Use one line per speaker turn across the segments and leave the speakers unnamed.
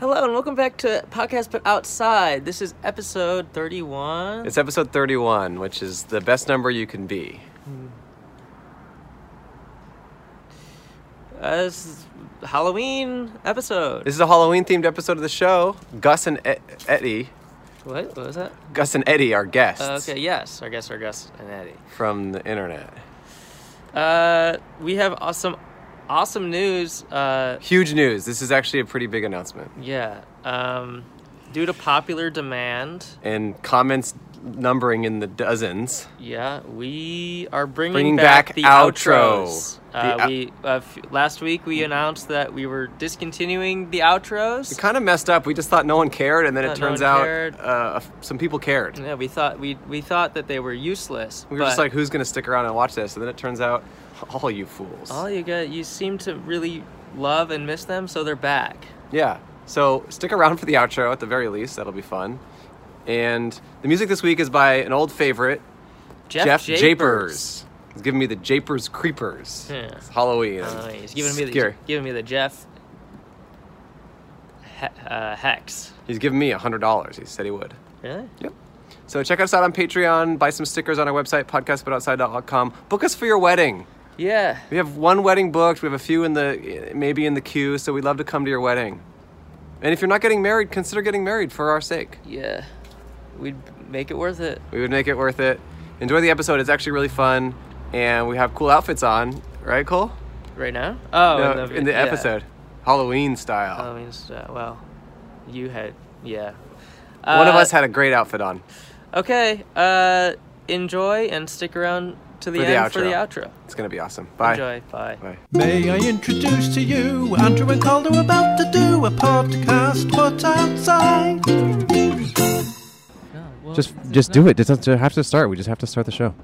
Hello and welcome back to Podcast But Outside. This is episode 31.
It's episode 31, which is the best number you can be.
Uh, this is Halloween episode.
This is a Halloween themed episode of the show. Gus and E- Eddie,
what? What was that?
Gus and Eddie are guests
Uh, okay, yes. Our guests are Gus and Eddie.
from the internet.
Uh, we have awesome, awesome news. Uh,
Huge news. This is actually a pretty big announcement.
yeah. Um, due to popular demand,
And comments numbering in the dozens.
yeah, we are bringing,
Bringing
back,
back
the
outro.
outros.
The Mm-hmm.
Uh,
ou-
we uh, f- last week we announced that we were discontinuing the outros.
It kind of messed up. We just thought no one cared, and then it
Thought no
turns
one
out
cared.
uh, some people cared.
Yeah, we thought we we thought that they were useless.
We were just
but
like, who's going to stick around and watch this? And then it turns out, all you fools.
all you got. You seem to really love and miss them, so they're back.
Yeah. So stick around for the outro at the very least. That'll be fun. And the music this week is by an old favorite,
Jeff,
Jeff Japers. He's giving me the Japers Creepers.
Yeah.
It's Halloween.
Uh, he's giving me the
Scary.
giving me the Jeff he, uh, hex.
He's giving me $100. He said he would.
Really?
Yep. So check us out on Patreon. Buy some stickers on our website, podcastbutoutside.com. Book us for your wedding.
Yeah.
We have one wedding booked. We have a few in the maybe in the queue. So we'd love to come to your wedding. And if you're not getting married, consider getting married for our sake.
Yeah. We'd make it worth it.
We would make it worth it. Enjoy the episode. It's actually really fun, and we have cool outfits on, right, Cole?
Right now? Oh,
No,
in the, yeah. Oh,
episode, Halloween style.
Halloween stuff. Well, you had yeah.
One of
Uh,
us had a great outfit on.
Okay. Uh, enjoy and stick around to the
For the
end for the
outro.
outro.
It's gonna be awesome. Bye.
Enjoy. Bye.
Bye.
May I introduce to you Andrew and Calder about to do a podcast but outside.
Just, just do it. Just have to start. We just have to start the show.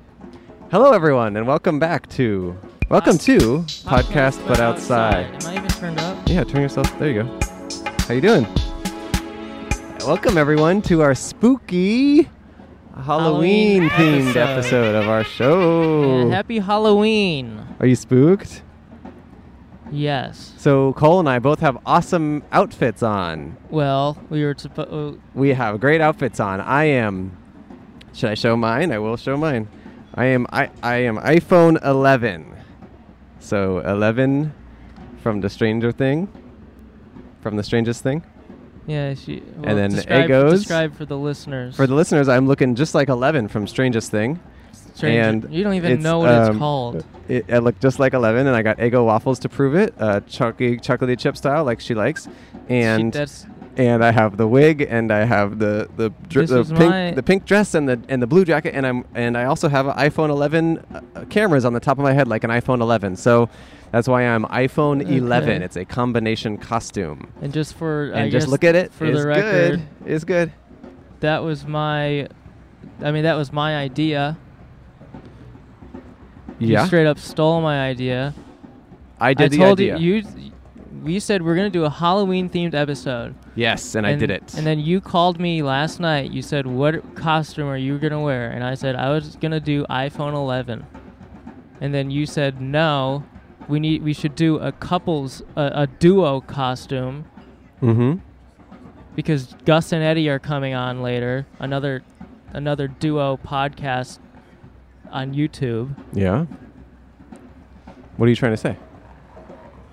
Hello, everyone, and welcome back to welcome to podcast, but outside.
Am I even turned up?
Yeah, turn yourself. There you go. How you doing? Welcome everyone to our spooky Halloween
Halloween
themed
episode.
episode of our show.
Yeah, happy Halloween.
Are you spooked?
Yes.
So Cole and I both have awesome outfits on.
Well, we were oh, supposed.
We have great outfits on. I am Should I show mine? I will show mine. I am I I am iPhone 11. So 11 from the Stranger Thing. From the strangest thing.
Yeah. She, well,
then A
describe,
goes.
Describe for the listeners.
For the listeners, I'm looking just like 11 from Strangest Thing.
Stranger-
and
you don't even
it's,
know what
um,
it's called.
It, it looked just like 11, and I got Eggo waffles to prove it, uh, chunky, chocolatey chip style, like she likes. And
she, that's
and I have the wig, and I have the the, dr-
This
the
was
pink
my-
the pink dress, and the and the blue jacket, and I'm and I also have an iPhone 11 uh, uh, cameras on the top of my head, like an iPhone 11. So that's why I'm iPhone 11.
Okay.
It's a combination costume,
and just for
and
I
just
guess
look at it.
for
it's
the record.
good. It's good.
That was my. I mean, that was my idea. You
Yeah,
straight up stole my idea.
I did
I
the
told
idea.
you. you we said we're gonna do a Halloween themed episode.
yes, and, I did it.
And then you called me last night. You said, "What costume are you gonna wear?" And I said, "I was gonna do iPhone 11." And then you said, "No, we need. We should do a couples, a, a duo costume
mm-hmm.
because Gus and Eddie are coming on later. Another, another duo podcast on YouTube."
Yeah. What are you trying to say?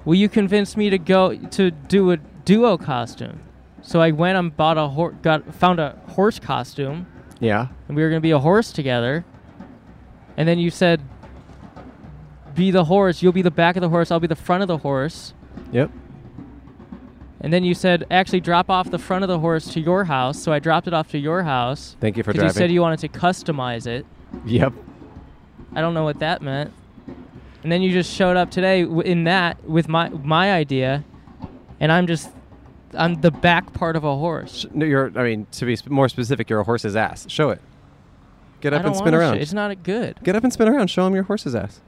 Well, you convinced me to go to do a duo costume, so I went and bought a hor- got found a horse costume.
Yeah.
and we were going to be a horse together. And then you said, "Be the horse. You'll be the back of the horse. I'll be the front of the horse."
Yep.
And then you said, "Actually, drop off the front of the horse to your house." So I dropped it off to your house
Thank you for
because
driving.
you said you wanted to customize it.
yep.
I don't know what that meant. And then you just showed up today w- in that with my my idea, and I'm just I'm the back part of a horse.
No, you're. I mean, to be sp- more specific, you're a horse's ass. Show it. Get
I
up
don't
and spin
wanna sh-
around.
It's not good.
Get up and spin around. Show him your horse's ass.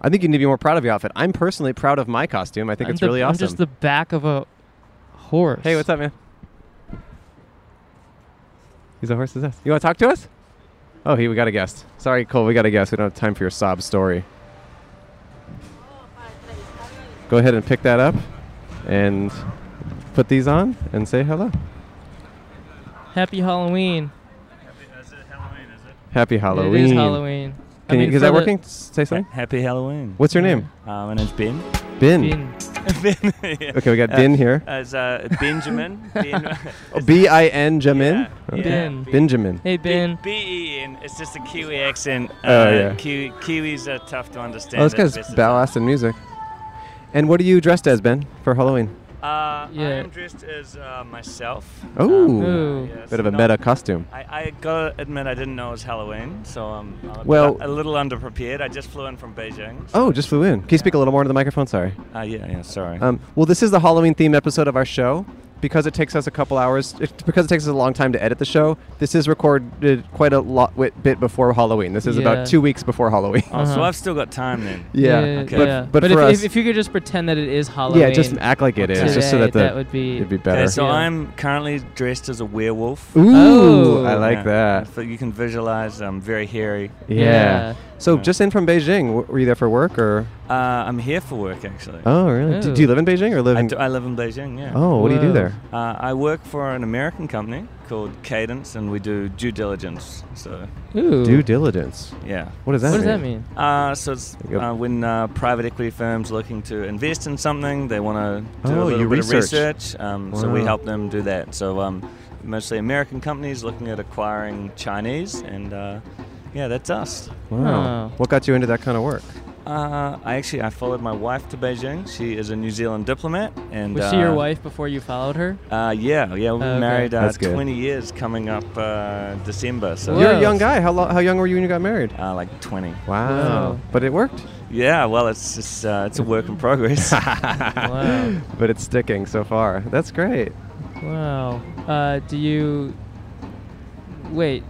I think you need to be more proud of your outfit. I'm personally proud of my costume. I think
I'm
it's
the-
really
I'm
awesome.
just the back of a horse.
hey, what's up, man? He's a horse's ass. You want to talk to us? Oh, he. We got a guest. Sorry, Cole. We got a guest. We don't have time for your sob story. Go ahead and pick that up, and put these on and say hello.
Happy Halloween.
That's it, Halloween, is it?
Happy Halloween.
It is Halloween. I
Can you,
mean,
is
for
that
the-
working? S- Say something.
Happy Halloween.
What's your name?
Uh, my name's Ben.
Bin.
Bean.
ben. yeah.
Okay, we got
Uh,
Bin here.
As uh, Benjamin. ben,
Oh, B I N Jamin.
yeah,
Okay.
Ben.
Benjamin.
Hey, Ben.
B E N. It's just a Kiwi accent. Uh,
Oh, yeah.
Ki- Kiwis are tough to understand.
Oh, this
at
guy's
best of
badass in music. And what are you dressed as, Ben, for Halloween?
times. Uh,
Yeah.
I am dressed as uh, myself. Um,
Ooh.
Ooh.
yeah,
Bit
so
of a
not-
meta costume.
I, I gotta admit, I didn't know it was Halloween, so um, I'm a,
Well-
bit- a little underprepared. I just flew in from Beijing.
Oh, just flew in. Can you speak a little more into the microphone? Sorry.
Uh, yeah, yeah, sorry.
Um, well, this is the Halloween themed episode of our show. Because it takes us a couple hours, it, because it takes us a long time to edit the show, this is recorded quite a lot wit, bit before Halloween. This is
Yeah.
about two weeks before Halloween.
oh, so
uh-huh.
I've still got time then.
yeah.
okay.
But,
yeah.
but,
if,
for
if,
us,
if you could just pretend that it is Halloween.
yeah, just act like it is,
Yeah.
just so
today,
that the
would be.
it'd be
Okay,
better.
so
Yeah.
I'm currently dressed as a werewolf.
Ooh,
Oh.
I like
Yeah,
that.
So you can visualize I'm very hairy.
Yeah. So just in from Beijing, w- were you there for work or?
Uh, I'm here for work actually.
Oh, really? Do, do
Ooh.
you live in Beijing or live
I,
in?
do, I live in Beijing, yeah.
oh, what do you do
Whoa.
there?
Uh, I work for an American company called Cadence, and we do due diligence. So,
Ooh.
Due diligence.
yeah.
What does that
what
mean?
does that mean?
Uh, so it's
Yep.
uh, when uh, private equity firms looking to invest in something, they want to do
Oh,
a little
you
bit
research.
of research. Um, So we
Wow.
help them do that. So um, mostly American companies looking at acquiring Chinese, and uh, yeah, that's us.
Wow.
Oh.
What got you into that kind of work?
Uh, I actually I followed my wife to Beijing. She is a New Zealand diplomat, and
Was she your
uh,
wife before you followed her?
Uh, yeah, yeah, we
Oh, okay.
were married uh,
That's good.
20 years coming up uh, December. So
You're a
Whoa.
young guy. How, lo- how young were you when you got married?
uh, like 20.
Wow.
Whoa.
But it worked.
Yeah, well, it's just, uh, it's a work in progress.
Wow.
But it's sticking so far. That's great.
Wow. Uh, do you wait?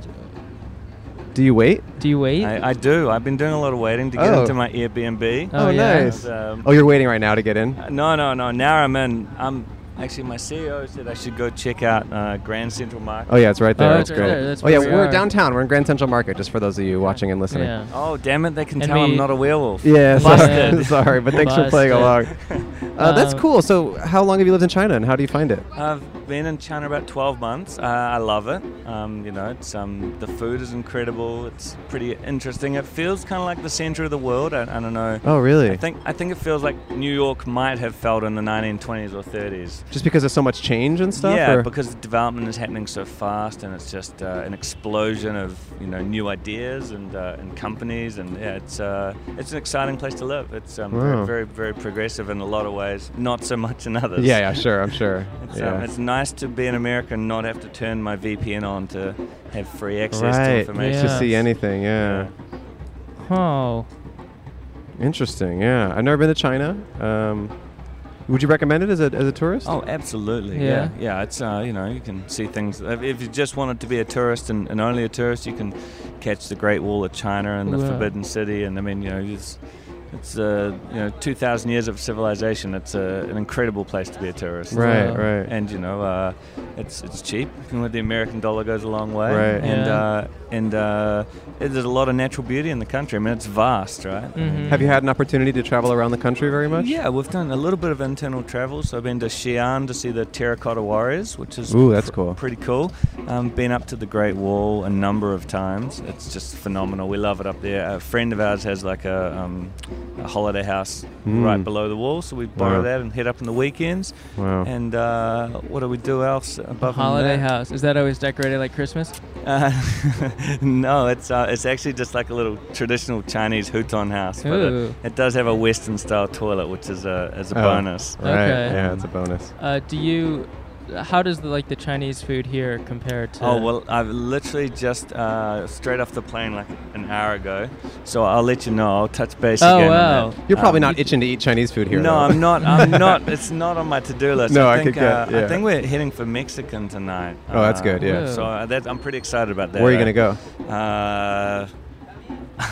Do you wait?
Do you wait?
I, I do. I've been doing a lot of waiting to get
Oh.
into my Airbnb.
Oh, yeah.
nice.
Um,
oh, you're waiting right now to get in?
No, no, no. Now I'm in. I'm actually my CEO said I should go check out uh, Grand Central Market.
Oh, yeah, it's right there.
Oh,
that's
it's right
great.
there. That's
oh, yeah,
where we
we're
are.
downtown. We're in Grand Central Market, just for those of you watching and listening.
yeah.
Oh, damn it! They can
And
tell
we-
I'm not a werewolf.
Yeah, sorry,
Busted.
sorry, but thanks for playing along.
Busted.
Uh, that's
Um,
cool. So, how long have you lived in China, and how do you find it?
I've been in China about 12 months. Uh, I love it. Um, you know, it's um, the food is incredible. It's pretty interesting. It feels kind of like the center of the world. I, I don't know.
Oh, really?
I think I think it feels like New York might have felt in the 1920s or 30s.
just because there's so much change and stuff.
Yeah,
or-
because the development is happening so fast, and it's just uh, an explosion of you know new ideas and uh, and companies, and yeah, it's uh, it's an exciting place to live. It's um,
Wow.
very, very very progressive in a lot of ways, not so much in others.
yeah, yeah, sure, I'm sure.
It's, um,
yeah.
it's nice to be an American, and not have to turn my VPN on to have free access to
right,
information.
to
Yeah.
see anything. Yeah.
Oh.
interesting. Yeah, I've never been to China. Um, would you recommend it as a as a tourist?
Oh, absolutely.
Yeah.
Yeah. Yeah. it's, uh, you know, you can see things. If if you just wanted to be a tourist and, and only a tourist, you can catch the Great Wall of China and the
Wow.
Forbidden City. And I mean, you know, it's, it's uh, you know, 2,000 years of civilization. It's uh, an incredible place to be a tourist.
right,
uh,
right.
And, you know, uh, it's, it's cheap. And with the American dollar goes a long way.
Right.
And,
Yeah.
uh, and uh, it- there's a lot of natural beauty in the country. I mean, it's vast, right?
mhm.
have you had an opportunity to travel around the country very much?
Yeah, we've done a little bit of internal travel. So I've been to Xi'an to see the Terracotta Warriors, which is
Ooh, that's cool.
pretty cool. Um, been up to the Great Wall a number of times. It's just phenomenal. We love it up there. A friend of ours has like a, um, a holiday house
Mm.
right below the wall, so we borrow
Wow.
that and head up on the weekends.
Wow.
And uh, what do we do else above
Holiday
that?
house. Is that always decorated like Christmas?
Uh, no, it's uh, it's actually just like a little traditional Chinese huton house, but
Ooh.
it, it does have a Western style toilet, which is a is a
Oh.
bonus.
Right.
Okay.
Yeah, it's a bonus.
Uh, do you? How does the like the Chinese food here compare to?
Oh well, I've literally just uh, straight off the plane like an hour ago, so I'll let you know. I'll touch base
Oh,
again. on
wow.
that.
You're probably
Um,
not itching to eat Chinese food here.
No,
though.
I'm not. I'm not. It's not on my to-do list.
No, I could
think,
get-
uh,
yeah.
I think we're heading for Mexican tonight.
Oh, that's good, yeah.
So uh, that, I'm pretty excited about that.
Where are you gonna go?
Uh,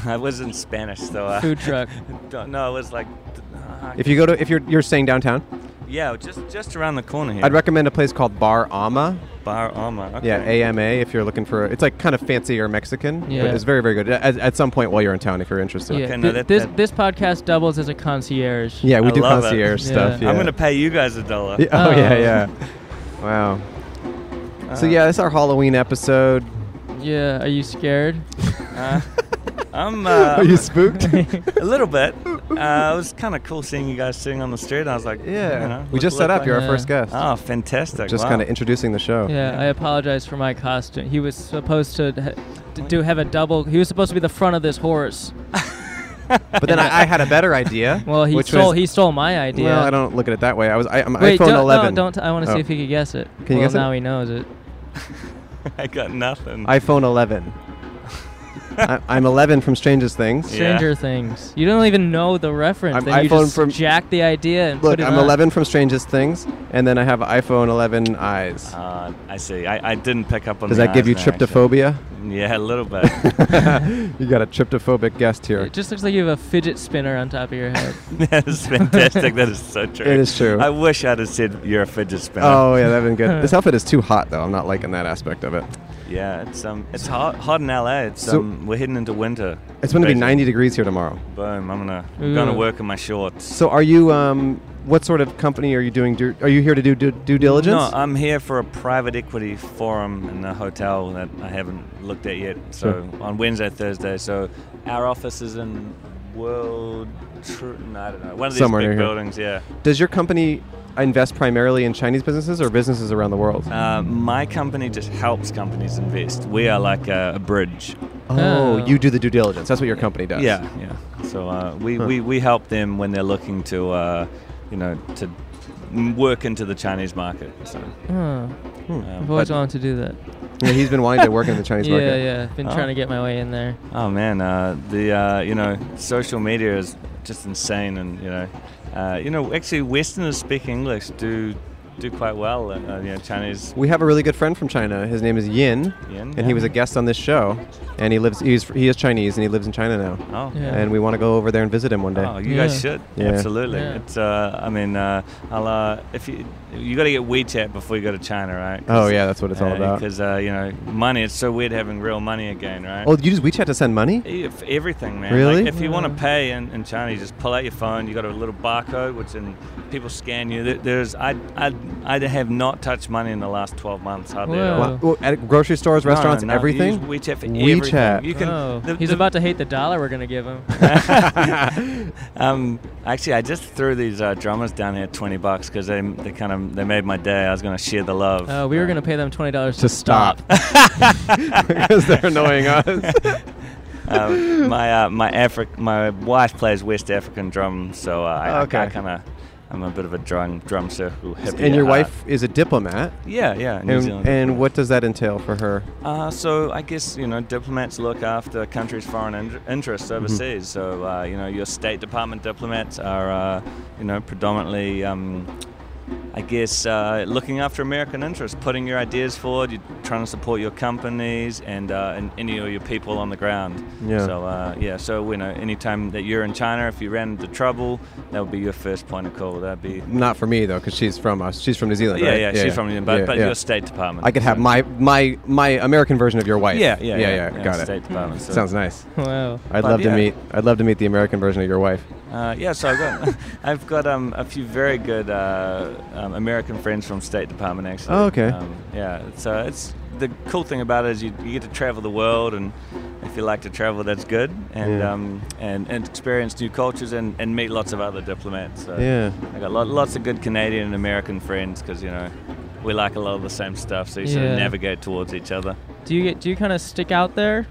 I was in Spanish, so uh,
Food truck.
don't- no, it was like. Uh,
If you go to, if you're you're staying downtown,
yeah, just just around the corner here.
I'd recommend a place called Bar Ama.
Bar Ama. Okay.
Yeah, AMA if you're looking for. It's like kind of fancier Mexican.
Yeah.
But it's very, very good. At, at some point while you're in town if you're interested.
Yeah,
Okay, no,
th-
that-
this
that-
this podcast doubles as a concierge.
Yeah, we
I
do
love it.
concierge stuff.
Yeah.
Yeah.
I'm gonna pay you guys a dollar.
Yeah, oh,
Oh.
yeah, yeah. Wow. so
Uh,
yeah, that's our Halloween episode.
Yeah, are you scared?
uh, I'm. Uh,
Are you spooked?
A little bit. Uh, it was kind of cool seeing you guys sitting on the street. I was like, you know,
yeah. We
look-
just set
look
up. You're
Yeah.
our first guest.
Like, oh, fantastic!
Just
wow.
kind of introducing the show.
Yeah, I apologize for my costume. He was supposed to ha- to do have a double. He was supposed to be the front of this horse.
But then I, I had a better idea.
Well, he
which
stole
was-
he stole my idea.
Well, I don't look at it that way. I was I, I'm
Wait,
iPhone
don't,
11.
No, don't. T- I want to
Oh.
see if he could guess it.
Can you
well,
guess it?
now he knows it.
I got nothing.
iPhone 11. I, I'm 11 from Strangest Things.
Yeah.
Stranger Things. You don't even know the reference.
I'm
then you
iPhone
just
from-
jack the idea and
Look,
put it
I'm
on.
11 from Strangest Things, and then I have iPhone 11 eyes.
Oh,
Uh, I see. I, I didn't pick up on.
Does
the
that give you
eyes there, actually.
tryptophobia?
Yeah, a little bit.
you got a tryptophobic guest here.
It just looks like you have a fidget spinner on top of your head.
that is fantastic. That is so true.
It is true.
I wish I'd have said you're a fidget spinner.
Oh yeah, that'd been good. this outfit is too hot though. I'm not liking that aspect of it.
Yeah, it's um, it's hot, hot in LA. It's
So-
um, we're heading into winter.
It's going to be
Basically.
90 degrees here tomorrow.
Boom! I'm gonna
Ooh.
gonna work in my shorts.
So are you? Um, what sort of company are you doing? Du- are you here to do du- due diligence?
No, uh, I'm here for a private equity forum in a hotel that I haven't looked at yet. So on Wednesday, Thursday. So our office is in World. Tr- no, I don't know. One of these
Somewhere
big
near here.
buildings. Yeah.
Does your company invest primarily in Chinese businesses or businesses around the world?
Uh, my company just helps companies invest. We are like a, a bridge.
oh,
Oh.
you do the due diligence. That's what your company does.
Yeah, yeah. So uh, we,
Huh.
we, we help them when they're looking to, uh, you know, to m- work into the Chinese market. So,
Huh.
um,
I've always
but-
wanted to do that.
Yeah, he's been wanting to work in the Chinese
Yeah,
market.
yeah. Been
Oh.
trying to get my way in there.
oh man, uh, the uh, you know social media is just insane, and you know, uh, you know actually Westerners speak English do do quite well. Uh, you know, Chinese.
We have a really good friend from China. His name is Yin,
Yin,
and
yeah.
he was a guest on this show. And he lives. He's he is Chinese, and he lives in China now.
Oh.
Yeah.
And we want to go over there and visit him one day.
Oh, you
Yeah.
guys should
Yeah.
absolutely.
Yeah.
It's uh, I mean, uh, I'll uh, if you you got to get WeChat before you go to China, right?
Oh, yeah, that's what it's all about.
Because uh, you know, money. It's so weird having real money again, right?
Oh, you use WeChat to send money?
If everything, man.
Really?
Like, if you want
Yeah.
to pay in, in China, you just pull out your phone. You got a little barcode, which and people scan you. There- There's I I I have not touched money in the last 12 months hardly.
Whoa.
At all.
Well, well, at grocery stores,
uh, No, no,
restaurants,
no, you
everything.
use WeChat for
WeChat.
everything. You can.
oh,
the-
he's
the-
about to hate the dollar we're gonna give him.
um, actually, I just threw these uh, drummers down here 20 bucks because they, they kind of they made my day. I was gonna share the love.
Uh, we were gonna pay them twenty dollars
to stop because they're annoying us.
um, my uh, my Afri- my wife plays West African drum, so uh, I,
Okay.
I, kind of I'm a bit of a drum drum circle hippie.
and your
at
wife
heart.
is a diplomat.
Yeah, yeah. New
And,
Zealand.
and what does that entail for her?
Uh, so I guess you know diplomats look after countries' foreign in- interests
Mm-hmm.
overseas. So uh, you know your State Department diplomats are uh, you know predominantly. Um, I guess uh, looking after American interests, putting your ideas forward, you're trying to support your companies and, uh, and any of your people on the ground.
Yeah.
So uh, yeah, so you know, anytime that you're in China, if you ran into trouble, that would be your first point of call. That'd be
Not for me though, because she's from us. She's from New Zealand.
yeah,
right?
yeah, She's from New Zealand, but,
yeah,
but
yeah.
your State Department.
I could have
so-
my my my American version of your wife.
Yeah, yeah,
yeah.
yeah, yeah,
got it.
State Department, so-
Sounds nice.
wow.
I'd
But
love to
yeah.
meet. I'd love to meet the American version of your wife.
Uh, yeah, so I've got, I've got um, a few very good uh, um, American friends from State Department, actually.
Oh, okay.
Um, yeah, so it's the cool thing about it is you, you get to travel the world, and if you like to travel, that's good, and
Yeah.
um, and, and experience new cultures and, and meet lots of other diplomats. So
Yeah.
I got lot, lots of good Canadian and American friends because you know we like a lot of the same stuff, so you sort
Yeah.
of navigate towards each other.
Do you get? Do you kind of stick out there?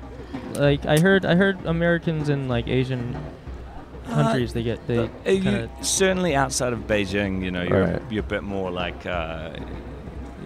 Like I heard, I heard Americans in like Asian countries they get they
Uh, you-
kind of
certainly outside of Beijing, you know, you're,
Right.
you're a bit more like. Uh,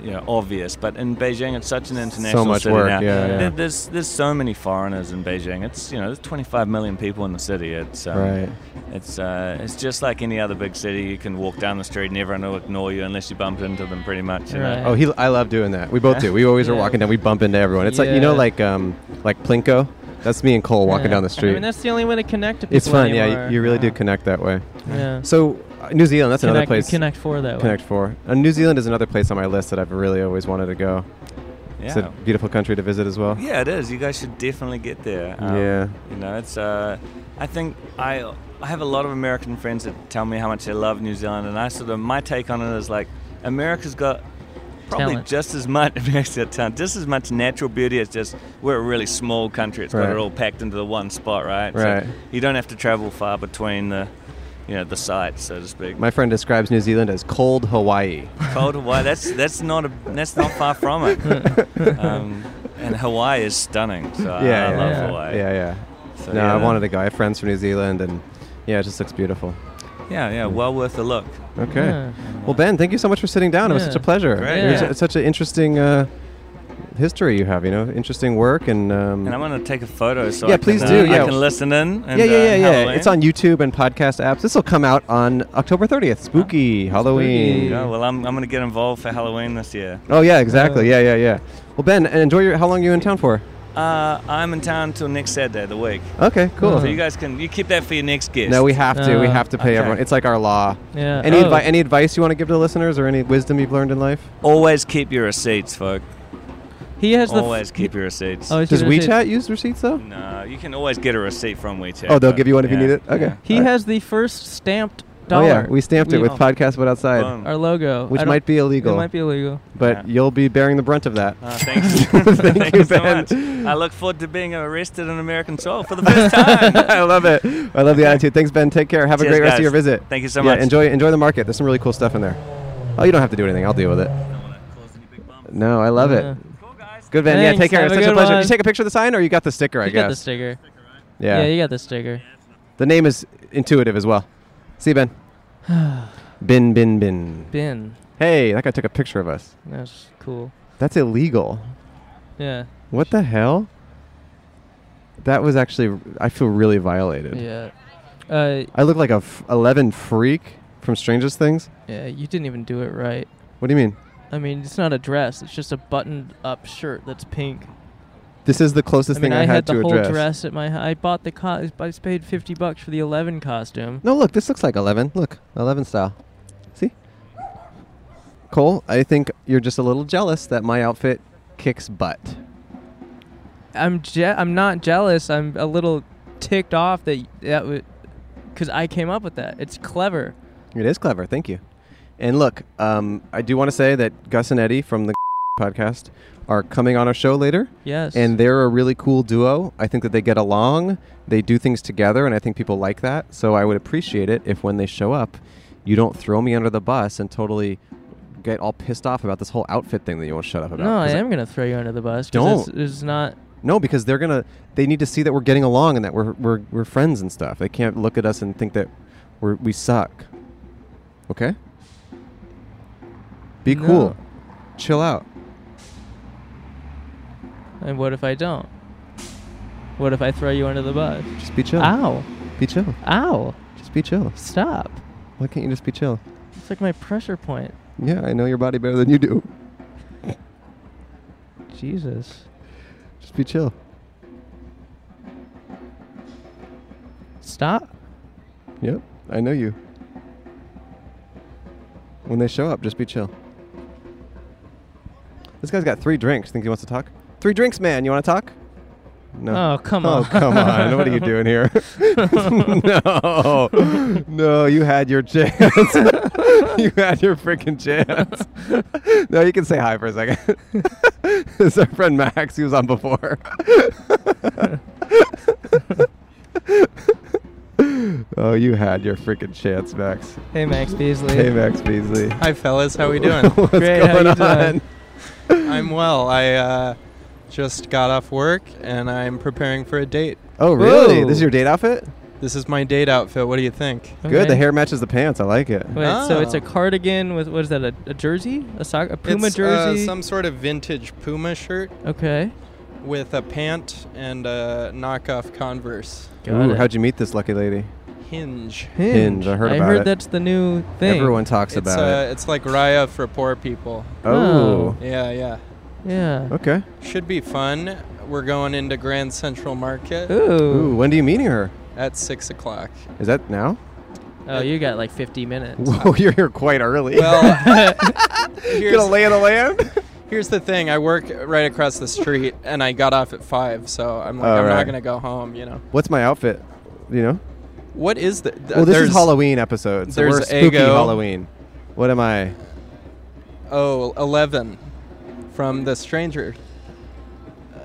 you know, obvious, but in Beijing, it's such an international
much
city
work,
now.
yeah, yeah.
There- There's there's so many foreigners in Beijing. It's you know, there's 25 million people in the city. It's um,
Right.
It's uh, it's just like any other big city. You can walk down the street and everyone will ignore you unless you bump into them, pretty much. You
Right.
know?
Oh, he. I love doing that. We both do. We always are
Yeah.
walking down. We bump into everyone. It's like you know,
Yeah.
like um, like Plinko. That's me and Cole walking down the
I
street.
mean, that's the only way to connect to people.
it's fun. Yeah,
uh,
anymore.
you, you really do
Yeah.
connect that way.
Yeah.
So, uh, New Zealand. That's another
Connect,
place.
Connect Four that way.
Connect Four. Uh, New Zealand is another place on my list that I've really always wanted to go. It's a
Yeah.
beautiful country to visit as well.
Yeah, it is. You guys should definitely get there. Um,
Yeah.
You know, it's. Uh, I think I I have a lot of American friends that tell me how much they love New Zealand, and I sort of my take on it is like America's got probably
Talent.
just as much America's got talent, just as much natural beauty. It's just we're a really small country. It's got
Right.
it all packed into the one spot, right?
Right.
So you don't have to travel far between the. You know the sites, so to speak.
My friend describes New Zealand as cold Hawaii.
Cold Hawaii. That's that's not a that's not far from it. um, and Hawaii is stunning. So I- I,
yeah,
love
yeah,
Hawaii.
yeah, yeah.
So,
no, I
yeah.
wanted to go. I have friends from New Zealand, and yeah, it just looks beautiful.
Yeah, yeah, well worth a look.
Okay.
Yeah.
Well, Ben, thank you so much for sitting down. It was
Yeah.
such a pleasure.
Great.
It was-
Yeah.
It's such an interesting uh, history you have. You know, interesting work and. Um,
And I want to take a photo so
Yeah,
I can,
please
uh,
do, yeah.
I can listen in. And,
yeah, yeah,
uh,
yeah, yeah.
Halloween.
It's on YouTube and podcast apps. This will come out on October 30th.
Ah,
Spooky Halloween.
Spooky.
Yeah, well, I'm, I'm going to get involved for Halloween this year.
Oh yeah, exactly. Yeah, yeah, yeah. Well, Ben, enjoy your. How long are you in town for?
Uh, I'm in town till next Saturday of the week.
Okay, cool.
So you guys can you keep that for your next guest.
No, we have to. we
Uh,
have to pay
Oh, Ah, okay. Uh,
everyone. It's like our law.
Yeah.
Any
Oh.
advi- any advice you want to give to the listeners, or any wisdom you've learned in life?
always keep your receipts, folk.
He has the.
Always keep your receipts.
Oh, I was
Does
gonna say-
WeChat use receipts though?
no, you can always get a receipt from WeChat.
Oh, they'll
but-
give you one if you
yeah,
need it. Okay.
He
All right.
has the first stamped
Oh
dollar.
yeah, we stamped it
We-
with podcast but outside,
Boom.
our logo,
which
I don't-
might be illegal,
It might be illegal.
but
Yeah.
you'll be bearing the brunt of that.
Uh, thanks.
Thank
Thank
you,
so
Ben.
much. I look forward to being arrested on American soil for the first time.
I love it. I love the attitude. Thanks, Ben. Take care. Have a
Cheers,
great rest of
guys.
your visit.
Thank you so
Yeah,
much.
enjoy enjoy the market. There's some really cool stuff in there. Oh, you don't have to do anything. I'll deal with it. No, I love
Yeah.
it. Good, Ben.
Thanks.
yeah, take care.
Have
It's
a
such a
good
pleasure.
one.
Did you take a picture of the sign, or you got the sticker? I
You
guess.
got the sticker.
Yeah.
Yeah. you got the sticker.
the name is intuitive as well. See, you, Ben. bin, bin, bin.
Bin.
Hey, that guy took a picture of us.
That's cool.
That's illegal.
Yeah.
What the hell? That was actually. I feel really violated.
Yeah. Uh,
I look like a f- eleven freak from Strangest Things.
yeah. You didn't even do it right.
What do you mean?
I mean, it's not a dress. It's just a buttoned-up shirt that's pink.
This is the closest
I mean,
thing I,
I had
had,
the
to
whole
address.
dress at my. I bought the. Co- I paid fifty bucks for the eleven costume.
No, look, this looks like 11. Look, 11 style. See? Cole, I think you're just a little jealous that my outfit kicks butt.
I'm je- I'm not jealous. I'm a little ticked off that y- that would, cause I came up with that. It's clever.
It is clever. Thank you. And look, um, I do want to say that Gus and Eddie from the podcast are coming on our show later,
Yes.
and they're a really cool duo. I think that they get along, they do things together, and I think people like that. So I would appreciate it if when they show up, you don't throw me under the bus and totally get all pissed off about this whole outfit thing that you won't shut up about.
no, I
'Cause
am gonna throw you under the bus. 'cause
Don't.
It's, it's not.
No, because they're gonna. They need to see that we're getting along and that we're we're, we're friends and stuff. They can't look at us and think that we're, we suck. Okay. Be
No.
cool. Chill out.
And what if I don't? What if I throw you under the bus?
Just be chill.
Ow!
Be chill.
Ow!
Just be chill.
Stop!
Why can't you just be chill?
It's like my pressure point.
Yeah, I know your body better than you do.
Jesus.
Just be chill.
Stop.
Yep, I know you. When they show up, just be chill. This guy's got three drinks. Think he wants to talk? Three drinks, man. You want to talk? No.
Oh, come
Oh,
on.
come on. What are you doing here? no. No, you had your chance. you had your freaking chance. no, you can say hi for a second. it's our friend Max. He was on before. oh, you had your freaking chance, Max.
Hey, Max Beasley.
Hey, Max Beasley.
Hi, fellas. How we doing?
What's
Great, how
going
you
on?
doing?
I'm well. I uh, just got off work and I'm preparing for a date.
Oh, really?
Whoa.
This is your date outfit?
This is my date outfit. What do you think?
Good. The
Okay.
hair matches the pants. I like it.
Wait, so it's a
Oh.
cardigan with what is that? A, a jersey? A sock? A Puma
It's, uh,
jersey?
some sort of vintage Puma shirt
okay.
with a pant and a knockoff Converse.
Ooh, how'd you meet this lucky lady?
Hinge.
Hinge, I heard about it.
that's the new thing.
Everyone talks
It's,
about
uh,
it.
it's like Raya for poor people.
Oh.
Yeah, yeah.
Yeah.
Okay.
Should be fun. We're going into Grand Central Market
Ooh.
Ooh, when are you meeting her?
at 6 o'clock.
Is that now?
Oh, you got like 50 minutes.
Whoa, you're here quite early.
Well,
you're gonna
here's,
lay of the land.
here's the thing. I work right across the street, and I got off at five, so I'm like,
Oh,
I'm
right.
not gonna go home. You know,
What's my outfit? You know.
what is the? th-
Well, this
there's-
is Halloween episode, so
there's
we're spooky
Ego.
Halloween. What am I?
Oh, 11 from the stranger.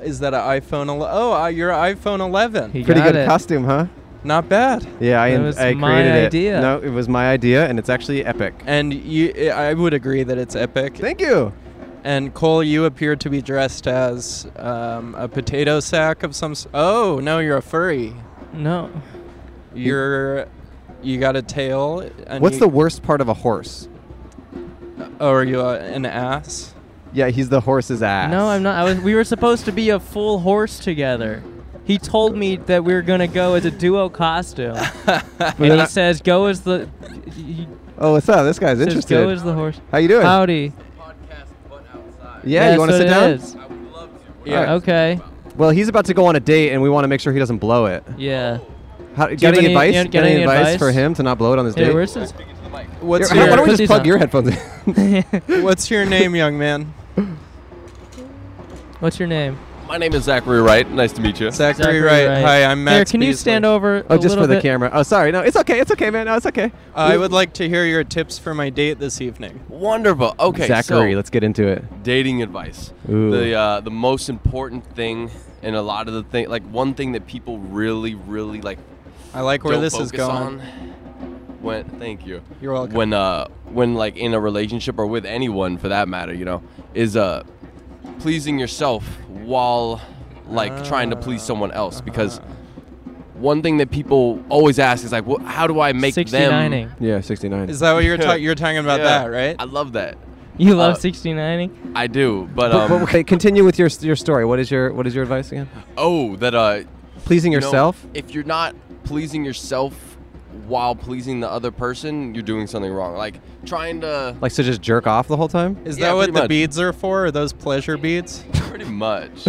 Is that an iPhone? ele- Oh, uh, you're an iPhone 11.
He
Pretty
got
good
it.
costume, huh?
Not bad.
Yeah, I,
That
in-
was
I
my
created it.
idea.
No, it was my idea, and it's actually epic.
And you, I I would agree that it's epic.
Thank you.
And Cole, you appear to be dressed as um, a potato sack of some. S- oh no, you're a furry.
No.
You're, you got a tail. And
What's
you-
the worst part of a horse?
Oh, are you a, an ass?
Yeah, he's the horse's ass.
No, I'm not. I was, we were supposed to be a full horse together. He told me that we were gonna go as a duo costume, and
then
he
I-
says, "Go as the." He
Oh, what's up? This guy's
says, "Go as
interested.
the horse."
How you doing?
Howdy.
yeah,
That's
you want to
what
sit
it
down?
is.
Yeah.
Okay.
Well, he's about to go on a date, and we want to make sure he doesn't blow it.
Yeah.
How,
you
got
have
any,
any-
advice?
you have- got any advice?
for him to not blow it on his
Hey,
date?
where's his?
What's
Here, why don't
your
we
Put
just
these
plug
on.
your headphones in?
What's your name, young man?
What's your name?
My name is Zachary Wright. Nice to meet you.
Zachary Wright. Hi, I'm Max.
Here, can you
Beasley.
stand over?
oh,
a
just
little
for the
bit?
camera. Oh, sorry. No, it's okay. It's okay, man. No, it's okay.
Uh,
Uh,
I would like to hear your tips for my date this evening.
Wonderful. Okay,
Zachary,
so
let's get into it.
dating advice.
Ooh.
The uh, the most important thing, and a lot of the thing, like one thing that people really, really like
I like where
don't
this is
focus
going.
on. When thank you.
You're welcome.
When uh when like in a relationship or with anyone for that matter, you know, is uh pleasing yourself while like trying to please someone else because
Uh-huh.
one thing that people always ask is like, well, how do I make them?
69ing.
Yeah, 69.
Is that what you're talking? You're talking about
Yeah.
that, right?
I love that.
Oh.
You love
Uh,
69ing?
I do, but
But-
um,
but okay, continue with your your story. What is your what is your advice again?
oh, that uh
Pleasing
you know,
yourself.
if you're not pleasing yourself while pleasing the other person, you're doing something wrong. Like trying to
Like, so just jerk off the whole time?
Is
Yeah,
that what
pretty
the
much.
beads are for? Are those pleasure beads?
pretty much.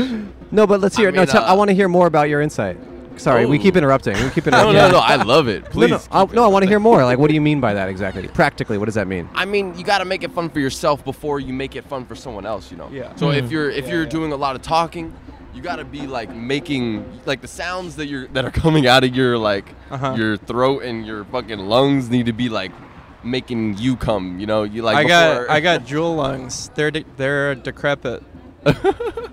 No, but let's
I
hear. no,
mean,
tell, I
uh,
want to hear more about your insight. Sorry, we
Ooh.
keep interrupting. We keep
No,
interrupting.
no, no. I love it. Please.
no, no, I, no, I want to hear more. Like, what do you mean by that exactly? Practically, what does that mean?
I mean, you got to make it fun for yourself before you make it fun for someone else, you know.
Yeah.
So if you're if you're doing a lot of talking, you got to be like making like the sounds that you're that are coming out of your like
Uh-huh.
your throat and your fucking lungs need to be like making you come, you know. You like
I got
before-
I got jewel lungs. They're de- they're decrepit.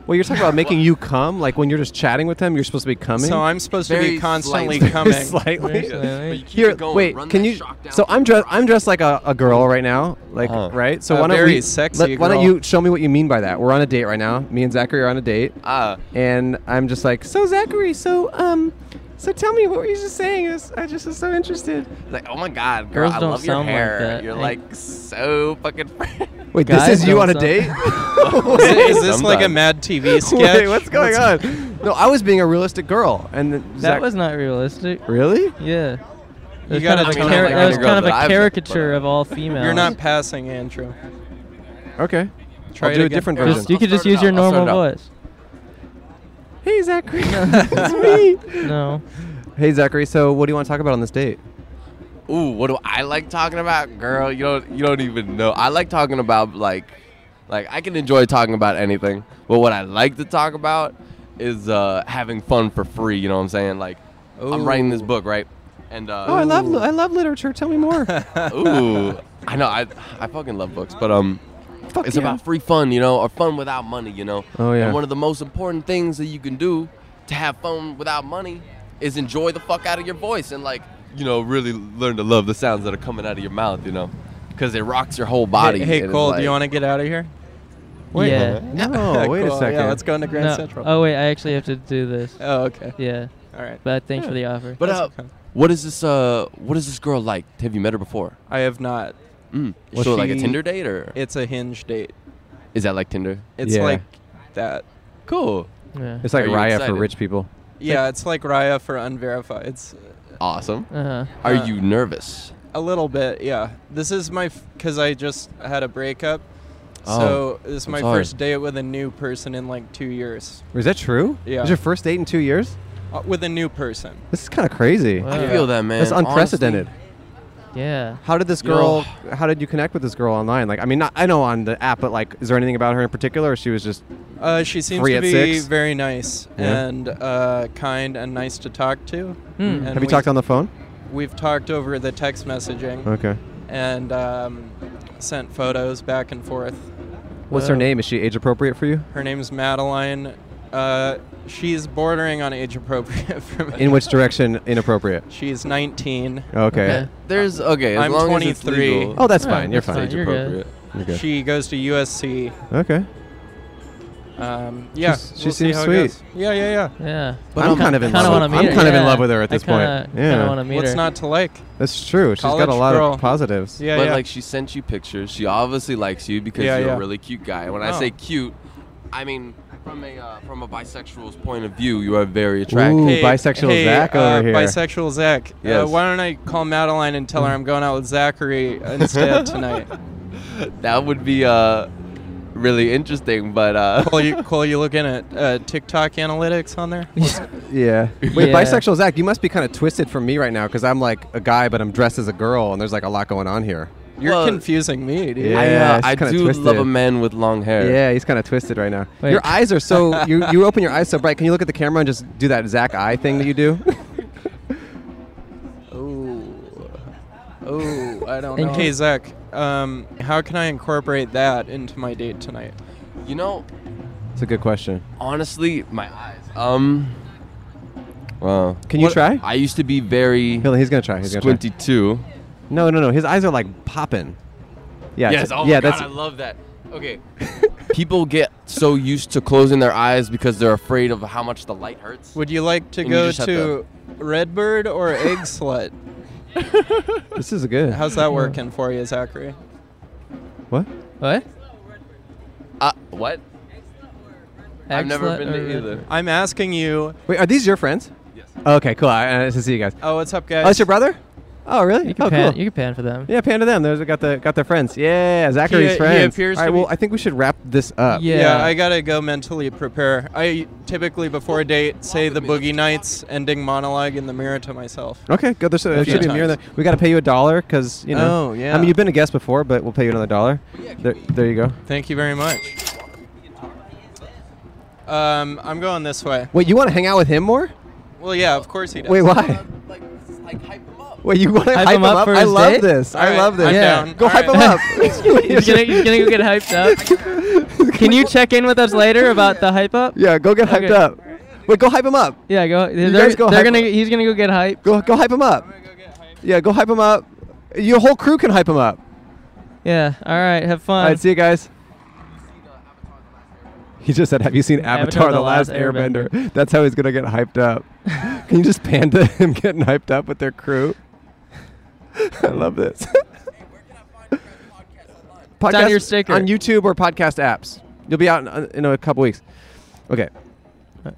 Well, you're talking about making you come. Like when you're just chatting with them, you're supposed to be coming.
So I'm supposed to be
Very
constantly
slightly.
coming.
slightly.
But you keep
Here,
it going.
wait.
Run
can
that
you?
shock down
So
to
I'm
the
dressed.
ground.
I'm dressed like a, a girl right now. Like
Uh-huh.
right. So
A
why don't
very
we?
sexy
Why don't
girl.
you show me what you mean by that? We're on a date right now. Me and Zachary are on a date,
Ah,
and I'm just like, so Zachary. So um, so tell me what were you just saying? I was- I just was so interested.
like oh my god, girl,
Girls
I
don't
love your
sound like
hair.
that.
You're
I-
like so fucking.
Wait,
Guys
this is you
don't
on a
suck.
date?
is, it- is this like a
Sometimes.
Mad TV sketch?
Wait, what's going on? No, I was being a realistic girl, and then
That
Zach-
was not realistic.
really.
Yeah. That was
gotta
kind of a
tone it
chara-
down.
that was
Girl
kind of
that I've
a
met,
caricature
but-
of all females.
You're not passing, Andrew.
Okay.
Try
I'll
it
do a
again.
different
Here,
version.
Just, you could just use
start it
your
out. I'll start
normal
it
voice.
Hey Zachary, it's me.
No.
Hey Zachary, so what do you want to talk about on this date?
Ooh, what do I like talking about, girl? You don't you don't even know. I like talking about like like I can enjoy talking about anything, but what I like to talk about is uh having fun for free, you know what I'm saying? Like I'm writing this book, right? And uh
Oh, I love li- I love literature. Tell me more.
Ooh. I know I I fucking love books, but um
Fuck
it's
yeah.
about free fun, you know, or fun without money, you know.
Oh, yeah.
And one of the most important things that you can do to have fun without money is enjoy the fuck out of your voice and like, you know, really learn to love the sounds that are coming out of your mouth, you know, because it rocks your whole body.
Hey,
and it's
Cole, do you
like-
want to get out of here?
yeah.
No, wait
Cool,
a second.
Yeah, let's go into Grand
No.
Central.
Oh wait, I actually have to do this.
Oh, okay.
Yeah. Oh.
All right.
But thanks for the offer.
But
That's
uh,
okay.
what is this? Uh, what is this girl like? Have you met her before?
I have not.
Mm.
Was
so like a
she-
Tinder date or
It's a hinge date.
is that like Tinder?
It's
Yeah.
like that.
Cool.
yeah.
It's like
Are you
Raya for
excited?
rich people.
Yeah, it's like Raya for unverified. It's
Awesome.
Uh-huh.
Are
Uh,
you nervous?
a little bit, yeah. This is my because I just had a breakup,
Oh.
so this is
I'm
my
sorry.
first date with a new person in like two years.
Is that true?
Yeah.
It's your first date in two years?
Uh, with a new person,
This is kind of crazy.
Wow.
I
yeah.
feel that man.
That's unprecedented.
Honestly,
Yeah.
How did this
You know-
girl? How did you connect with this girl online? Like, I mean, not, I know on the app, but like, is there anything about her in particular? Or she was just
Uh, she seems
Three
to
at
be
six?
very nice
Yeah.
and uh, kind and nice to talk to.
Hmm.
And
have you talked on the phone?
We've talked over the text messaging
Okay.
and um, sent photos back and forth.
What's her name? Is she age appropriate for you?
Her name's Madeline. Uh, she's bordering on age appropriate for me.
In which direction inappropriate?
she's 19.
Okay.
There's okay. As
I'm
long as it's
23.
legal,
Oh, that's
Yeah,
fine. You're
that's
fine.
fine. You're good.
You're good.
She goes to USC.
Okay.
Um, yeah,
She's- she
we'll see
seems
how it
sweet.
goes. Yeah, yeah, yeah.
Yeah.
But I'm kind of in
kinda
love.
wanna
with-
meet
I'm
her,
kind of in
yeah.
love with her at
I
this point.
kinda-
yeah,
Kinda want to meet
What's
her.
not to like?
that's true. She's got a
College
lot
girl.
of positives.
Yeah,
but
yeah.
like she sent you pictures. She obviously likes you because
Yeah,
you're
yeah.
a really cute guy. When
Oh.
I say cute, I mean from a uh, from a bisexual's point of view, you are very attractive.
Ooh, bisexual
hey,
Zach
uh,
over here.
Bisexual Zach. Uh,
Yes.
why don't I call Madeline and tell her I'm going out with Zachary instead tonight?
That would be uh really interesting, but uh
Cole, you, Cole, you looking at uh, TikTok analytics on there?
Yeah. Wait,
Yeah.
bisexual Zach, you must be kind of twisted from me right now because I'm like a guy, but I'm dressed as a girl, and there's like a lot going on here.
You're
Well,
confusing me, dude.
Yeah,
I, uh,
it's
I
kinda
do
twisted.
love a man with long hair.
Yeah, he's kind of twisted right now.
Wait.
Your eyes are so you you open your eyes so bright. Can you look at the camera and just do that Zach eye thing that you do?
Oh, I don't
And-
know. Hey, Zach, um, how can I incorporate that into my date tonight?
You know,
It's a good question.
honestly, my eyes. Um Wow.
Can you try?
I used to be very
Billy, he's gonna try. He's gonna try.
squinty too.
No, no, no. His eyes are like popping. Yeah.
Yes.
it's-
Oh
yeah.
my
that's
God, I love that. Okay. People get so used to closing their eyes because they're afraid of how much the light hurts.
Would you like to
And you
go
just have
to Redbird or Egg Slut?
this is good.
How's that working for you, Zachary?
What?
What?
Uh, what? I've never
Excellent-
been
or-
to either.
I'm asking you.
Wait, are these your friends?
Yes.
Okay, cool. I, uh, nice to see you guys.
Oh, what's up,
Oh,
guys?
it's your brother? Oh, really?
You can
oh,
pan.
cool.
You can pan for them.
Yeah, panda them. Those got the got their friends. Yeah, Zachary's
he
friends.
appears
All right,
to be-
well, I think we should wrap this up.
Yeah.
Yeah. I gotta go mentally prepare. I typically before a date say the boogie nights ending monologue in the mirror to myself.
Okay, good. There's, there
Okay.
should be a mirror. There. We got to pay you a dollar because you know.
Oh, yeah.
I mean, you've been a guest before, but we'll pay you another dollar. There, there you go.
Thank you very much. Um, I'm going this way.
Wait, you want to hang out with him more?
Well, yeah, of course he does.
Wait, why?
Like, like hype them up.
Wait, you want to
Hype
hype,
him up for
I
his
love
date?
this. I
All right,
love this.
I'm
Yeah.
down.
Go
All
hype
right.
him up.
he's, gonna, he's gonna go get hyped up. Can you check in with us later about the hype up?
yeah, go get hyped
Okay.
up. Wait, go hype him up.
Yeah, go. They're,
guys go
they're
hype
gonna.
up.
He's gonna go get hype.
Go go hype him up. Yeah, go hype him up. Your whole crew can hype him up.
Yeah. All right. Have fun.
All right, see you guys. He just said, "Have you seen Avatar: The, Last, Airbender? That's how he's gonna get hyped up. Can you just panda him getting hyped up with their crew? I love this. podcast
your sticker.
on YouTube or podcast apps. You'll be out in, in a couple weeks. Okay.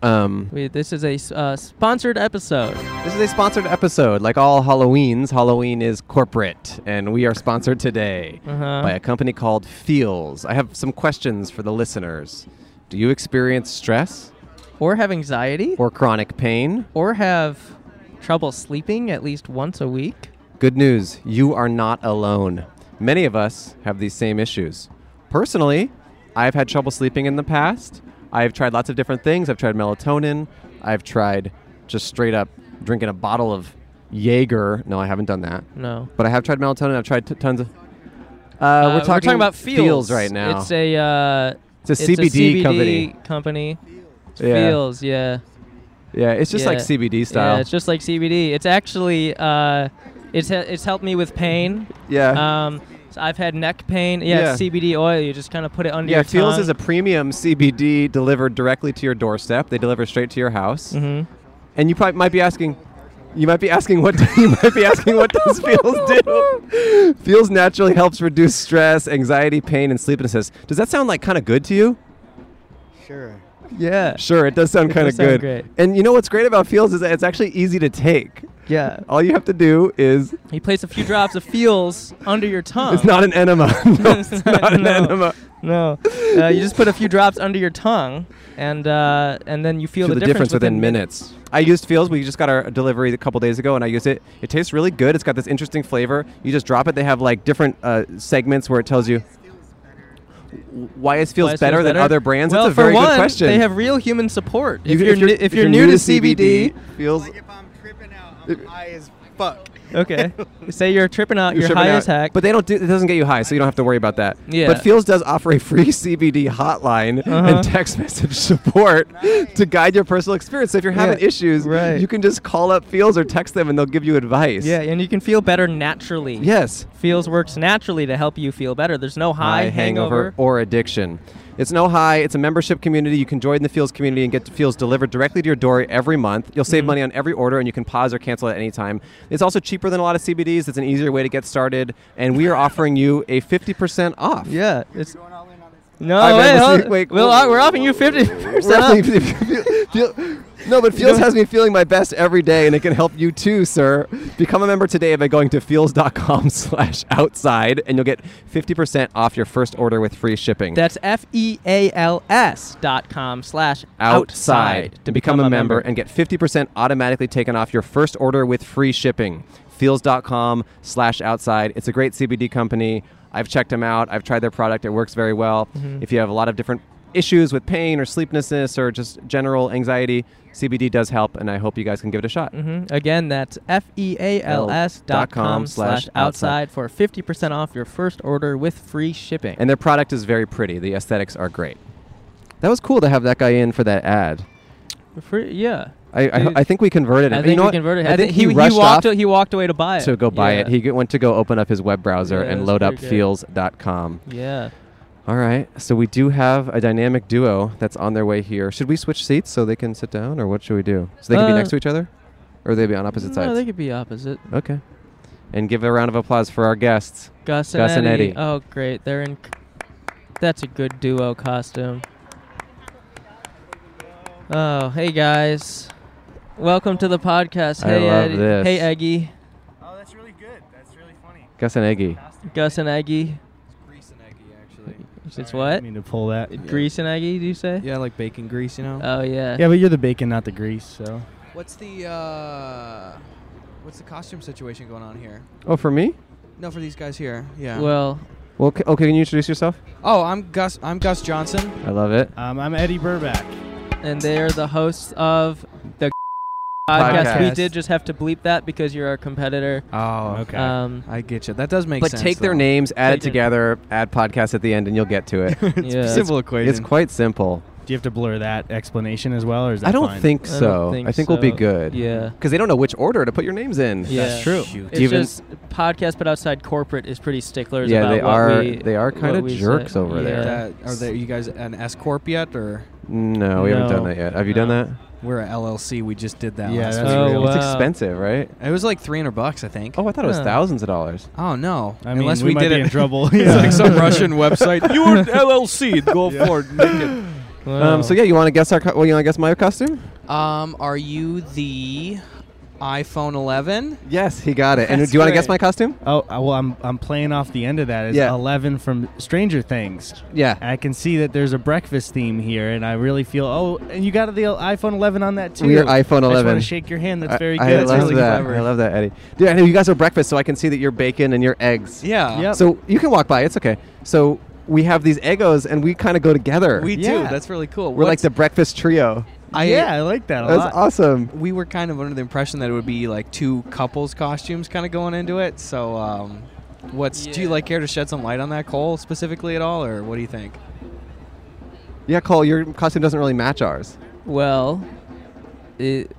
Um,
Wait, this is a s- uh, sponsored episode.
this is a sponsored episode. Like all Halloweens, Halloween is corporate, and we are sponsored today
Uh-huh.
by a company called Feels. I have some questions for the listeners. Do you experience stress
Or have anxiety.
or chronic pain?
Or have trouble sleeping at least once a week.
Good news, you are not alone. Many of us have these same issues. Personally, I've had trouble sleeping in the past. I've tried lots of different things. I've tried melatonin. I've tried just straight up drinking a bottle of Jaeger. No, I haven't done that.
No.
But I have tried melatonin. I've tried t- tons of. Uh,
Uh,
we're, talking
about feels.
right now.
It's a uh,
It's a CBD company.
company. It's
Yeah.
Feels, yeah.
yeah, it's just like
Yeah.
CBD style.
Yeah, it's just like CBD. It's actually uh, it's it's helped me with pain.
Yeah.
Um, so I've had neck pain. Yeah, it's
Uh. Yeah.
CBD oil. You just kind of put it under
yeah,
your
Feels
tongue.
is a premium CBD delivered directly to your doorstep. They deliver straight to your house.
Mhm.
And you probably might be asking, you might be asking what you might be asking what does Feels do? Feels naturally helps reduce stress, anxiety, pain, and sleeplessness. Does that sound like kind of good to you?
Sure.
yeah.
Sure, it does sound
It
kind of
does sound
good.
great.
And you know what's great about Feels is that it's actually easy to take.
Yeah.
All you have to do is
You place a few drops of fuels under your tongue.
it's not an enema. no, it's,
It's
not,
not-
an
Oh. no.
enema.
No. Uh, you just put a few drops under your tongue, and uh, and then you feel,
Feel the difference within minutes. I used Feels. We just got our delivery a couple days ago, and I used it. It tastes really good. It's got this interesting flavor. You just drop it. They have like different uh, segments where it tells you why it feels
Why it
better than other brands.
Well,
That's a
for
very
one,
good question.
They have real human support.
You
if,
can-
you're, ni- if, you're, new, to CBD,
Feels.
Like if I'm tripping out, I'm high as fuck.
okay. Say you're tripping out,
You're
you're,
tripping
high
out.
as heck.
But they don't do. It doesn't get you high, so you don't have to worry about that.
Yeah.
But Feels does offer a free CBD hotline
Uh-huh.
and text message support to guide your personal experience. So if you're having
Yeah,
issues,
right.
you can just call up Feels or text them, and they'll give you advice.
yeah, and you can feel better naturally.
Yes.
Feels works naturally to help you feel better. There's no high, hangover.
or addiction. It's no high. It's a membership community. You can join the Feels community and get Feels delivered directly to your door every month. You'll
Mm-hmm.
save money on every order, and you can pause or cancel at any time. It's also cheaper than a lot of CBDs. It's an easier way to get started, and we are offering you a fifty percent off.
yeah, it's
Going all in on this.
no
I've
wait,
never
hold-
seen- wait,
we'll-
whoa.
we're offering you fifty percent.
Really, feel- feel- no, but Feels has me feeling my best every day, and it can help you too, sir. Become a member today by going to feels.com slash outside, and you'll get 50% off your first order with free shipping.
That's F E A L S dot com slash
outside to become, a member, and get 50% automatically taken off your first order with free shipping. Feels.com slash outside. It's a great CBD company. I've checked them out. I've tried their product. It works very well. If you have a lot of different issues with pain or sleeplessness or just general anxiety, CBD does help, and I hope you guys can give it a shot.
Mhm. Again, that's F E A L S dot com slash outside for 50% off your first order with free shipping.
And their product is very pretty. The aesthetics are great. That was cool to have that guy in for that ad.
free, yeah.
I, I,
Dude.
I think we converted
I
him. You
think
know
we
what?
converted.
I think he,
he,
rushed
walked
off.
he walked away to buy it.
to go buy
yeah.
it. He g- went to go open up his web browser
Yeah,
and
that's
load up
pretty good.
feels.com.
Yeah.
All right. So we do have a dynamic duo that's on their way here. Should we switch seats so they can sit down, or what should we do? So they can be
Uh,
next to each other, or they be on opposite
No,
sides.
they could be opposite.
okay. And give a round of applause for our guests.
Gus and,
Gus and
Eddie.
Eddie.
Oh, great. They're in. c- That's a good duo costume. Oh, hey guys. Welcome to the podcast.
I
Hey
love
Eddie.
this.
Hey Eggy.
Oh, that's really good. That's really funny.
Gus and Eggy.
Gus and Eggy.
Grease and eggy, actually.
It's
Sorry, I
what?
didn't mean to pull that.
Grease and Eggy, do you say?
Yeah, like bacon grease, you know.
Uh,
Oh yeah.
yeah, but you're the bacon, not the grease. So
What's the uh, what's the costume situation going on here?
Oh, for me?
No, for these guys here. Yeah.
Well,
Well, c- oh, can you introduce yourself?
oh, I'm Gus. I'm Gus Johnson.
I love it.
um, I'm Eddie Burback.
and they are the hosts of the podcast. We
Podcast.
did just have to bleep that because you're our competitor.
Oh,
Okay.
Uh,
Um,
I get you. That does make
But
sense.
take their
though.
names, add it
Take it.
together, add podcast at the end, and you'll get to it.
yeah.
Simple equation.
uh, it's quite simple.
Do you have to blur that explanation as well, or is that
I don't
fine?
think
I don't
so. I think,
think
we'll be
so.
good.
Yeah.
Because they don't know which order to put your names in.
Yeah.
that's true.
It's
Even-
just podcast, but outside corporate is pretty sticklers.
Yeah,
about
they
what
are-
we-
they are kinda
what we
jerks
say.
over there.
Yeah.
That, are there, you guys an S corp yet, or
No, we haven't
No.
done that yet. Have you done
No.
that?
we're a LLC? We just did that.
Yeah,
last
that's
week.
Oh,
It's
wow.
expensive, right?
It was like three hundred bucks, I think.
Oh, I thought it was
Huh.
thousands of dollars.
Oh no!
I mean,
Unless
we,
we,
might
did
be
it
in trouble.
it's like some Russian website. You are an LLC. Go forward. Make
Um, so yeah, you want to guess our? Co- well, you want to guess my costume?
it. Um, are you the iPhone 11?
Yes, he got it. and
That's
do you want to guess
great.
my costume?
Oh uh, well, I'm I'm playing off the end of that. It's
Yeah.
eleven from Stranger Things.
Yeah.
I can see that there's a breakfast theme here, and I really feel oh, and you got the iPhone 11 on that too.
We are iPhone
I just want
11.
to shake your hand. That's
I-
very
I,
good. That's
love
really
that.
clever.
I love that, Eddie. Dude, I know you guys are breakfast, so I can see that you're bacon and your eggs.
Yeah.
Yep.
So you can walk by. It's okay. So we have these egos, and we kind of go together.
We do.
Yeah.
That's really cool.
We're like the breakfast trio.
I,
yeah, I like that a
That's
lot.
awesome.
We were kind of under the impression that it would be like two couples costumes kind of going into it. So, um, what's do you
Yeah.
like care to shed some light on that Cole specifically at all, or what do you think?
Yeah, Cole, your costume doesn't really match ours.
well, it,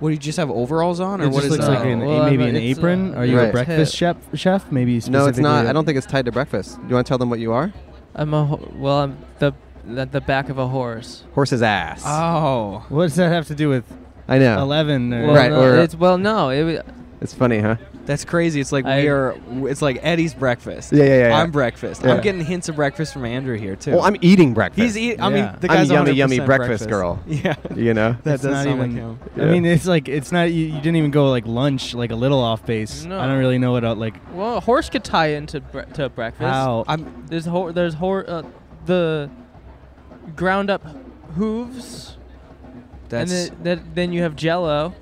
What do you just have overalls on, or
It
what
just
is
looks
that?
like an,
Well,
maybe
I'm-
an
it's,
apron.
uh,
Are you
Right.
a breakfast chef? Chef, maybe.
No, it's not.
specifically-
I don't think it's tied to breakfast. You want to tell them what you are?
I'm a ho- well, I'm the the, the back of a horse.
Horse's ass.
oh,
What does that have to do with
I know.
eleven? Or
Well,
Oh. Right,
no,
or-
it's well, no, it, wa-
It's funny, huh?
That's crazy. It's like
I-
we are. It's like Eddie's breakfast.
Yeah, yeah, yeah, yeah.
I'm breakfast.
Yeah.
I'm getting hints of breakfast from Andrew here too.
Well, I'm eating breakfast.
He's eating. I mean,
Yeah.
the
I'm
guy's
a yummy, yummy
100%
breakfast, girl.
Yeah,
You know?
that
It's
does
not
sound like
even-
him.
I
Yeah.
mean, it's like it's not. You, you didn't even go like lunch, like a little off base.
No.
I don't really know what uh, like
Well, a horse could tie into bre- to breakfast.
how.
I'm.
There's hor- there's hor- uh, the ground up hooves,
That's.
and then, that, then you have Jello.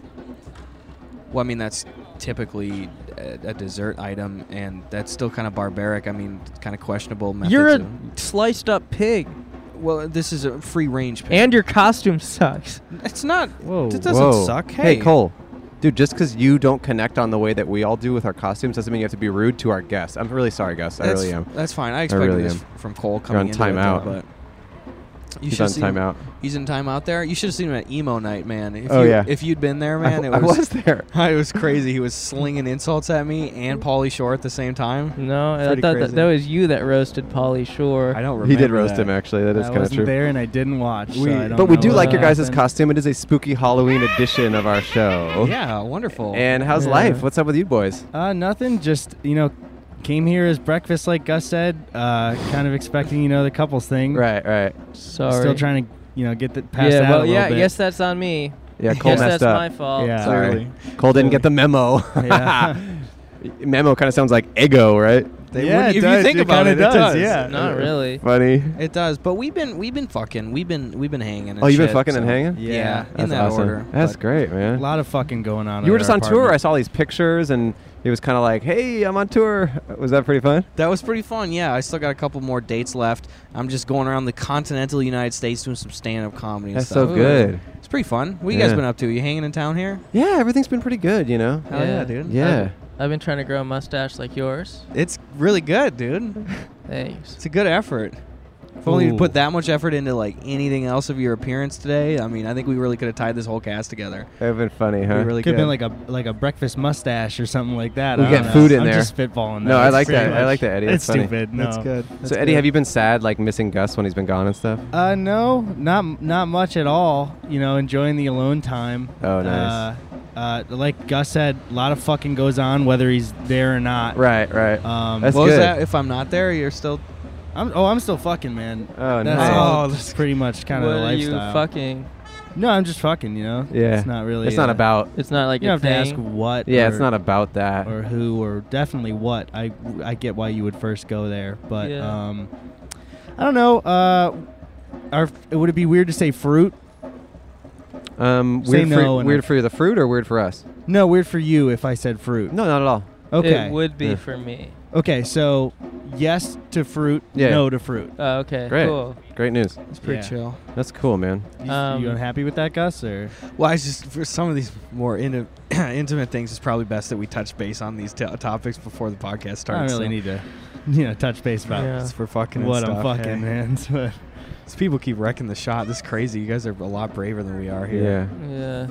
well, I mean, that's typically a, a dessert item, and that's still kind of barbaric. I mean, kind of questionable. Methods
You're a
of-
sliced up pig,
well, this is a free range. Pick.
and your costume sucks.
it's not.
Whoa,
It doesn't
Whoa.
suck.
Hey, Cole. Dude, just because you don't connect on the way that we all do with our costumes doesn't mean you have to be rude to our guests. I'm really sorry, Gus. I
That's-
really am.
That's fine. I expected
really
this
am.
from Cole coming
on
into
timeout.
It, though, but you
He's
should
on
see him-
timeout.
He's in timeout there. You should have seen him at emo night, man. If
Oh,
you,
yeah.
If you'd been there,
I
man,
w-
it
I
was.
was there.
it was crazy. He was slinging insults at me and Pauly Shore at the same time.
No, I
Pretty
thought that,
crazy.
that was you that roasted Polly Shore.
I don't remember.
He did roast
that.
him, actually. That is
I
kind of
wasn't
true.
there and I didn't watch. so
We-
I don't
But we
know
do
what
like your guys'
happened.
costume. It is a spooky Halloween edition of our show.
Yeah, wonderful.
Oh. And how's
Yeah.
life? What's up with you boys?
Uh, nothing. Just you know, came here as breakfast, like Gus said. Uh, kind of expecting you know the couples thing.
Right, right.
Sorry.
Still trying to you know get the past
Yeah,
that
well,
a little
yeah. I
bit.
guess that's on me.
Yeah,
I
Cole
guess
messed
that's my
up.
fault.
Yeah.
Uh, Sorry.
Clearly.
Cole didn't get the memo.
Yeah.
memo kind of sounds like ego, right?
They
yeah,
would-
it
if
does.
you think
It
about
kinda
it,
does,
it does.
yeah.
Not really.
Funny.
It does. But we've been we've been fucking. We've been we've been hanging. And
Oh, you've been
shit,
fucking and
so-
hanging?
Yeah,
Yeah.
in
That's
that
awesome.
order.
That's
but-
great,
A
man.
lot of fucking going on.
You were just on tour. I saw all these pictures, and he was kind of like, "Hey, I'm on tour." Was that pretty fun?
That was pretty fun. Yeah, I still got a couple more dates left. I'm just going around the continental United States doing some stand-up comedy.
That's
and stuff.
so good.
It's pretty fun. What you
Yeah.
guys been up to? You hanging in town here?
Yeah, everything's been pretty good, you know.
Hell yeah,
Yeah.
dude.
Yeah.
I've been trying to grow a mustache like yours.
It's really good, dude.
Thanks.
It's a good effort. If only you
Ooh.
put that much effort into like anything else of your appearance today. I mean, I think we really could have tied this whole cast together.
It's been funny, huh?
We really could.
Could have been like a like a breakfast mustache or something like that.
We
I
get
don't
food
know.
in
I'm
there.
Just spitballing.
No, I
That's
like
pretty
that. I
much-
like that, Eddie.
It's
That's funny.
stupid. No.
That's good.
so, Eddie, have you been sad, like missing Gus when he's been gone and stuff?
Uh, no, not not much at all. You know, enjoying the alone time.
Oh, nice.
Uh, uh, like Gus said, a lot of fucking goes on whether he's there or not.
Right, right.
Um,
That's
what was
good.
that? If I'm not there, you're still.
I'm, oh, I'm still fucking, man.
Oh,
that's
nice.
all
Oh,
that's pretty much kind of
what
the
are you
lifestyle.
fucking?
No, I'm just fucking. You know.
Yeah.
It's not really.
It's not
uh,
about.
It's not like
You
a
don't have to ask
thing.
what.
Yeah, it's
or-
not about that.
or who or definitely what I I get why you would first go there, but
Yeah.
um, I don't know. Uh, are, would it be weird to say fruit?
Um,
Say
weird
no
for
and-
weird for the fruit or weird for us?
No, weird for you if I said fruit.
No, not at all.
Okay.
It would be
Yeah.
for me.
Okay, so yes to fruit,
Yeah.
no to fruit.
Oh, okay.
Great.
Cool.
Great news.
It's pretty
Yeah.
chill.
That's cool, man.
You,
Um,
you unhappy with that, Gus? Or
Well, I just for some of these more inti- intimate things, it's probably best that we touch base on these to topics before the podcast starts.
I don't really
so.
need to, you know, touch base about
Yeah.
It's for fucking and
what I'm
stuff,
fucking,
hey.
man. But
These people keep wrecking the shot. This is crazy. You guys are a lot braver than we are here.
Yeah.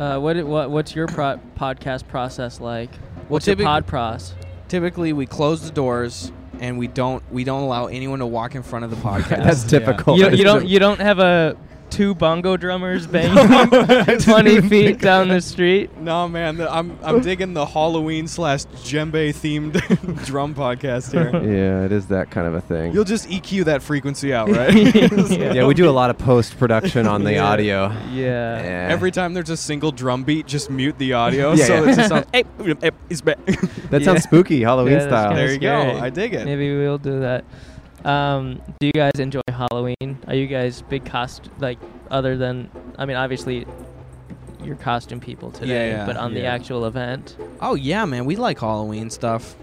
Yeah. Uh, what, it- what what's your pro- podcast process like? What's
typic-
your pod pros?
Typically, we close the doors and we don't we don't allow anyone to walk in front of the podcast.
That's
Oh,
Yeah.
typical.
you,
That's
you don't
typ-
you don't have a two bongo drummers banging twenty feet down the street.
No man, the, I'm I'm digging the Halloween slash djembe themed drum podcast here.
yeah, it is that kind of a thing.
You'll just EQ that frequency out, right?
yeah, we do a lot of post production on the
Yeah.
audio.
Yeah.
Yeah.
Every time there's a single drum beat, just mute the audio.
Yeah,
so
yeah.
it's just sounds, "Hey, hey, it's back."
that sounds spooky Halloween
Yeah, that's
style.
kinda
There you
scary.
go. I dig it.
Maybe we'll do that. Um, do you guys enjoy Halloween? Are you guys big cost like other than? I mean, obviously, you're costume people today,
yeah,
but on the
yeah.
actual event,
Oh yeah, man, we like Halloween stuff.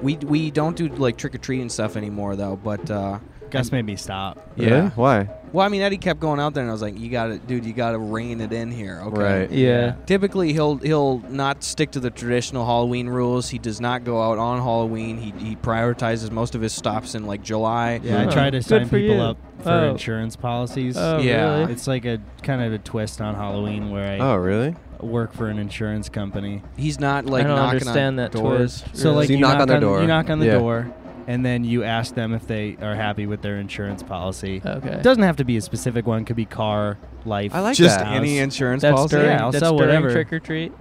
We we don't do like trick or treating stuff anymore though, but uh,
Gus made me stop.
Really?
Yeah.
Why?
well, I mean, Eddie kept going out there, and I was like, "You got to, dude, you got to rein it in here." Okay.
Right.
yeah,
Typically, he'll he'll not stick to the traditional Halloween rules. He does not go out on Halloween. He, he prioritizes most of his stops in like July.
Yeah, I
Oh,
try to
good
sign
for
people
you.
up for
Oh.
insurance policies.
Oh,
Yeah.
really?
It's like a kind of a twist on Halloween where I
Oh, really?
work for an insurance company.
He's not like
I don't
knocking
understand
on
that
doors.
twist.
So
really.
like
So you knock on their door.
You knock on the
Yeah.
door, and then you ask them if they are happy with their insurance policy.
okay,
It doesn't have to be a specific one. Could be car, life.
I like
Just
that.
any
House.
insurance
that's
policy.
during
Yeah, I'll
that's
sell
during
whatever.
trick or treat.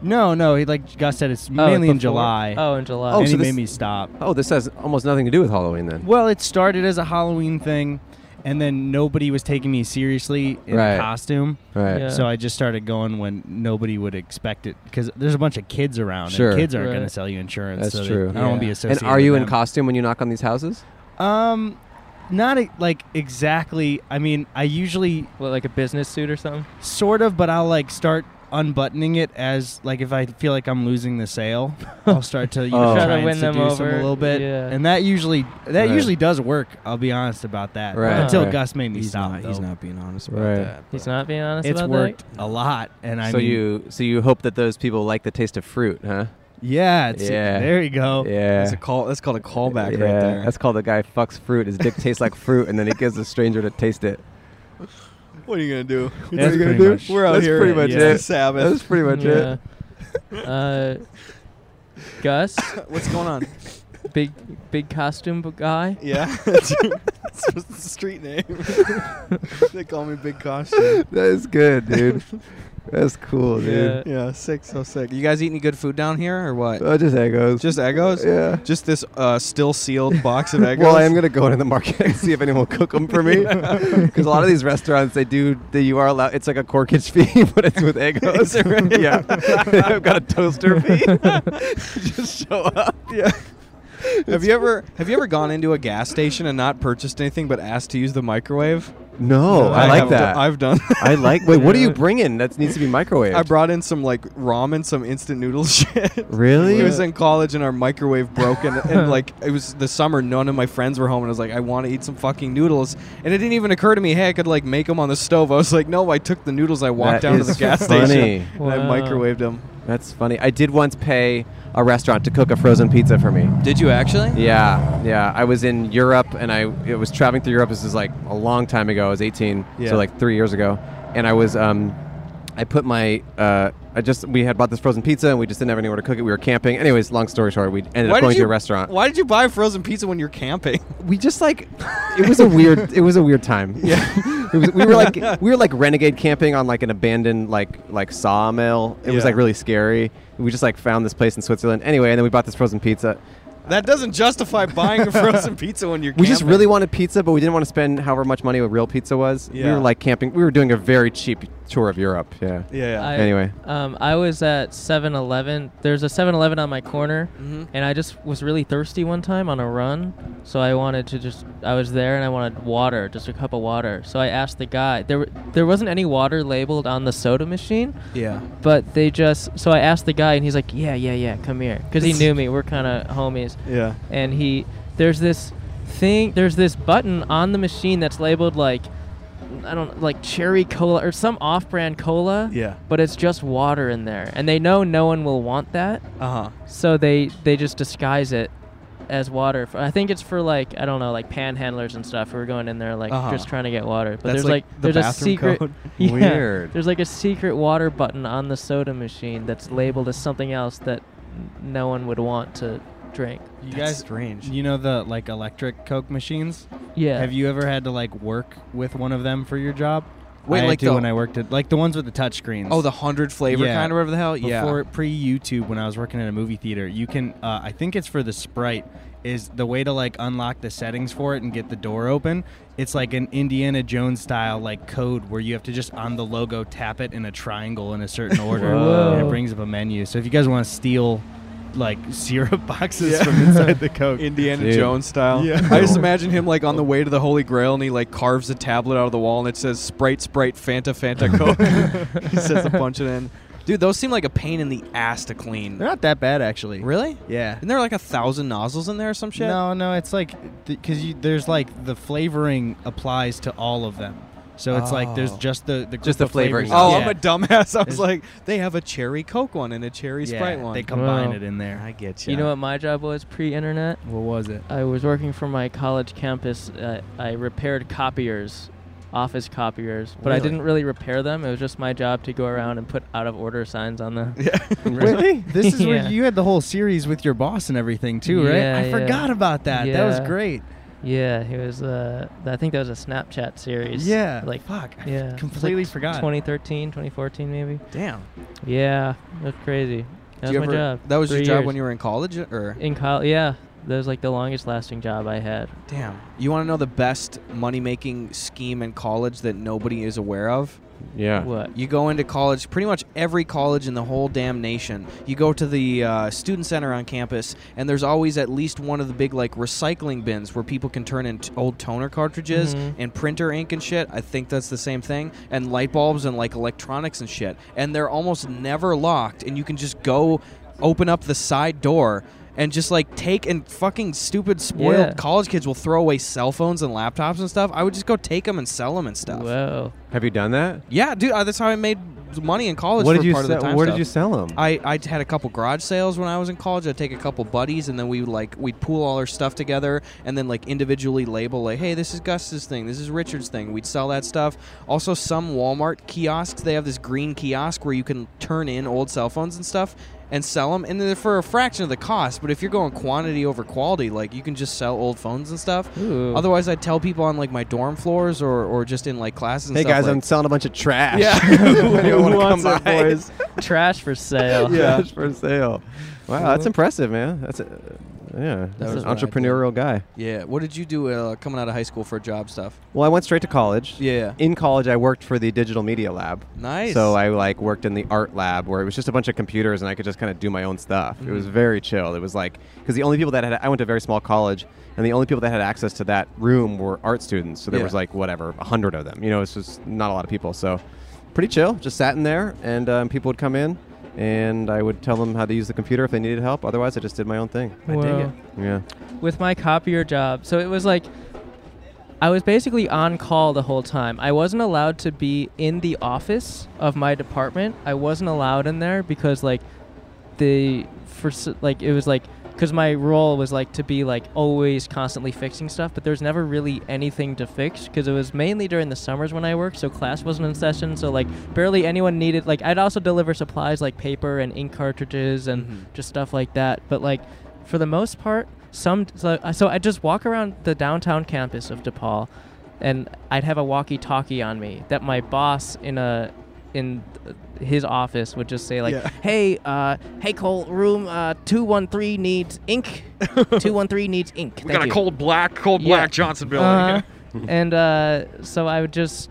No, no. He like Gus said, it's mainly in
before?
July.
Oh, in July.
Oh, and
so
he
this-
made me stop.
Oh, this has almost nothing to do with Halloween then.
Well, it started as a Halloween thing, and then nobody was taking me seriously in
Right.
costume.
Right. Yeah.
So I just started going when nobody would expect it because there's a bunch of kids around,
Sure.
and kids aren't
Right.
going to sell you insurance.
That's
so they-
true.
I don't want to be associated.
And are you in
with them.
costume when you knock on these houses?
Um, not e- like exactly. I mean, I usually
what, like a business suit or something.
Sort of, but I'll like start unbuttoning it as like if I feel like I'm losing the sale, I'll start to you know,
Oh. Try
try,
to
and
win them
seduce
over,
a little bit,
yeah.
and that usually that
Right.
usually does work. I'll be honest about that.
Right,
Until
right.
Gus made me
He's
stop.
not- he's
though.
not being honest about
Right.
that.
He's not being honest
It's
about
worked
that.
a lot, and I
so
mean,
you so you hope that those people like the taste of fruit, huh?
Yeah, it's- there you go.
Yeah,
Oh, That's a
call. That's called a callback
right there.
That's called the guy fucks fruit. His dick tastes like fruit, and then he gives a stranger to taste it.
What are you gonna do?
What are you gonna do?
We're out
That's
here.
pretty much
It's
it.
the Sabbath.
That's pretty much it.
it. Uh, Gus,
What's going on?
big big costume b- guy.
Yeah, it's just the street name. they call me Big Costume.
That is good, dude. That's cool, dude.
Yeah, sick, so sick. You guys eat any good food down here or what?
Oh, just egos.
Just egos?
Yeah.
Just this uh, still sealed box of egos.
Well, I am gonna go into the market and see if anyone will cook them for me, because a lot of these restaurants they do. They, you are allowed. It's like a corkage fee, but it's with egos. yeah, I've got a toaster fee. just show up.
Yeah. have you ever have you ever gone into a gas station and not purchased anything but asked to use the microwave?
No, Oh, I, like
have
that.
do- I've done.
I like. Wait, what are you bringing? That needs to be microwaved.
I brought in some like ramen, some instant noodle shit.
Really?
It was in college and our microwave broke and, and like it was the summer. None of my friends were home and I was like, I want to eat some fucking noodles. And it didn't even occur to me, hey, I could like make them on the stove. I was like, no, I took the noodles. I walked
That
down to the
is
gas
funny.
station and I
Wow.
microwaved them.
That's funny. I did once pay a restaurant to cook a frozen pizza for me.
Did you actually?
Yeah, yeah. I was in Europe, and I it was traveling through Europe. This is like a long time ago. I was 18,
Yeah.
so like three years ago, and I was um, I put my uh, I just we had bought this frozen pizza, and we just didn't have anywhere to cook it. We were camping. Anyways, long story short, we ended up
Why did
going to
you-
a restaurant.
Why did you buy frozen pizza when you're camping?
We just like It was a weird. It was a weird time. Yeah, it was, we were like we were like renegade camping on like an abandoned like like sawmill. It was
Yeah.
like really scary. We just like found this place in Switzerland. Anyway, and then we bought this frozen pizza.
That doesn't justify buying a frozen pizza when you're.
We just
camping.
really wanted pizza, but we didn't want to spend however much money a real pizza was. We
Yeah.
were like camping. We were doing a very cheap tour of Europe. Yeah.
I-
anyway.
um, I was at 7-Eleven. There's a 7-Eleven on my corner,
Mm-hmm.
and I just was really thirsty one time on a run, so I wanted to just. I was there and I wanted water, just a cup of water. So I asked the guy. There, were- there wasn't any water labeled on the soda machine.
Yeah.
But they just. So I asked the guy, and he's like, "Yeah, yeah, yeah, come here," because he knew me. We're kind of homies.
Yeah.
And he, there's this thing. There's this button on the machine that's labeled like. I don't like cherry cola or some off-brand cola.
Yeah.
But it's just water in there, and they know no one will want that.
Uh-huh.
Uh huh.
So they they just disguise it as water. For, I think it's for like I don't know, like panhandlers and stuff who are going in there like
Uh-huh.
just trying to get water. But
That's
there's
like
like,
the
there's a
bathroom
secret.
code?
Yeah,
Weird.
There's like a secret water button on the soda machine that's labeled as something else that n- no one would want to drink.
You guys, strange. You know the like electric Coke machines.
Yeah.
Have you ever had to like work with one of them for your job?
Wait,
I had
like
to
the-
when I worked at like the ones with the touch screens.
Oh, the 100 flavor kind or whatever the hell? Yeah.
Before pre YouTube, when I was working at a movie theater, you can. Uh, I think it's for the Sprite. Is the way to like unlock the settings for it and get the door open? It's like an Indiana Jones style like code where you have to just on the logo tap it in a triangle in a certain order,
Whoa.
and it brings up a menu. So if you guys want to steal like syrup boxes
Yeah.
from inside the Coke,
Indiana Jones style.
Yeah.
I just imagine him like on the way to the Holy Grail and he like carves a tablet out of the wall and it says Sprite, Sprite, Fanta, Fanta, Coke. he says a bunch of in. Dude, those seem like a pain in the ass to clean.
They're not that bad actually.
Really?
Yeah.
Isn't there like a thousand nozzles in there or some shit?
No, no, it's like because you there's like the flavoring applies to all of them. So it's like there's
Oh.
just the, the
Just
group
the
of flavors.
flavoring.
Oh,
Yeah.
I'm a dumbass. I was
There's-
like, they have a cherry Coke one and a cherry
Yeah,
Sprite one.
they combine
Wow.
it in there.
I get
You know what my job was pre-internet?
What was it?
I was working for my college campus. Uh, I repaired copiers, office copiers, but I
Really?
didn't really repair them. It was just my job to go around and put out of order signs on them. Yeah.
Wait, This is
Yeah.
where you had the whole series with your boss and everything too, right?
Yeah,
I
yeah.
forgot about that. That was
Yeah.
great.
Yeah, he was. Uh, I think that was a Snapchat series.
Yeah,
like
fuck, I
yeah, it's
completely
like t-
forgot.
2013, 2014, maybe.
Damn.
Yeah, that's crazy. That
Do you
was my
ever-
job.
That was your
Three
job
years.
when you were in college, or
in college. Yeah, that was like the longest lasting job I had.
damn. You want to know the best money making scheme in college that nobody is aware of?
Yeah.
What?
You go into college, pretty much every college in the whole damn nation. You go to the uh, student center on campus, and there's always at least one of the big like recycling bins where people can turn in t- old toner cartridges
Mm-hmm.
Mhm.
and printer ink and shit. I think that's the same thing, and light bulbs and like electronics and shit. And they're almost never locked, and you can just go open up the side door. And just like take and fucking stupid spoiled
Yeah.
college kids will throw away cell phones and laptops and stuff. I would just go take them and sell them and stuff.
Whoa.
Have you done that?
Yeah, dude, uh, that's how I made money in college.
What
for
did you
part of the
sell?
time
Where
stuff.
did you sell them?
I, I had a couple garage sales when I was in college. I'd take a couple buddies, and then we would, like we'd pool all our stuff together, and then like individually label like, hey, this is Gus's thing, this is Richard's thing. We'd sell that stuff. Also, some Walmart kiosks they have this green kiosk where you can turn in old cell phones and stuff and sell them, and they're for a fraction of the cost. But if you're going quantity over quality, like you can just sell old phones and stuff.
Ooh.
Otherwise, I'd tell people on like my dorm floors or, or just in like classes. And
Hey
stuff,
guys,
like,
I'm selling a bunch of trash.
Yeah.
Anyone wanna
Who wants
come
it,
by?
boys?
Trash for sale.
yeah. for sale. Wow, that's
Mhm.
impressive, man. That's a, yeah, that's
was
an
what I did.
entrepreneurial guy.
Yeah. What did you do uh, coming out of high school for job stuff?
Well, I went straight to college.
Yeah.
In college, I worked for the digital media lab.
Nice.
So I like worked in the art lab where it was just a bunch of computers and I could just kind of do my own stuff. It was very chill. It was like because the only people that had I went to a very small college and the only people that had access to that room were art students. So there
Yeah.
was like whatever a hundred of them. You know, it's just not a lot of people. So pretty chill. Just sat in there and um, people would come in and I would tell them how to use the computer if they needed help. Otherwise, I just did my own thing.
Whoa.
Yeah.
with my copier job. So it was like I was basically on call the whole time. I wasn't allowed to be in the office of my department. I wasn't allowed in there because like the for s- like it was like because my role was like to be like always constantly fixing stuff, but there was never really anything to fix because it was mainly during the summers when I worked, so class wasn't in session, so like barely anyone needed. Like I'd also deliver supplies like paper and ink cartridges and just stuff like that, but like for the most part, some so, so I just walk around the downtown campus of DePaul, and I'd have a walkie-talkie on me that my boss in a in his office would just say like, "Hey, uh, hey Cole, room uh, two one three needs ink. Two one three needs ink. Uh-huh. We got a cold black, cold black Johnsonville.
Uh-huh.
and uh, so I would just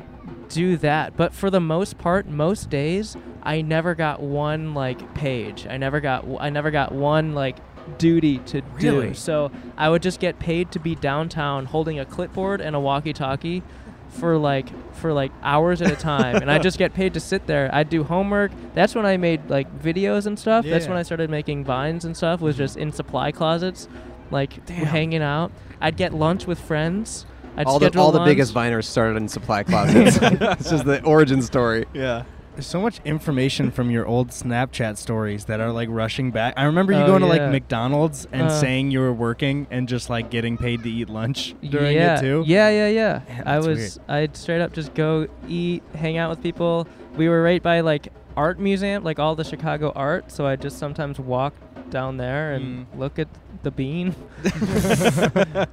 do that. But for the most part, most days I never got one like page. I never got I never got one like duty to do.
Really?
So I would just get paid to be downtown holding a clipboard and a walkie-talkie for like for like hours at a time and I just get paid to sit there. I'd do homework. That's when I made like videos and stuff. That's when
Yeah.
I started making vines and stuff was just in supply closets like hanging out. I'd get lunch with friends. I'd
all the
schedule
all the
lunch.
biggest viners started in supply closets. this is the origin story.
Yeah. There's so much information from your old Snapchat stories that are like rushing back. I remember you
Oh,
going to
yeah.
like McDonald's and
Uh.
saying you were working and just like getting paid to eat lunch during
yeah.
it too.
Yeah, yeah, yeah.
Man,
I
that's
was I'd straight up just go eat, hang out with people. We were right by like art museum, like all the Chicago art, so I just sometimes walk down there and
Hmm.
look at the bean.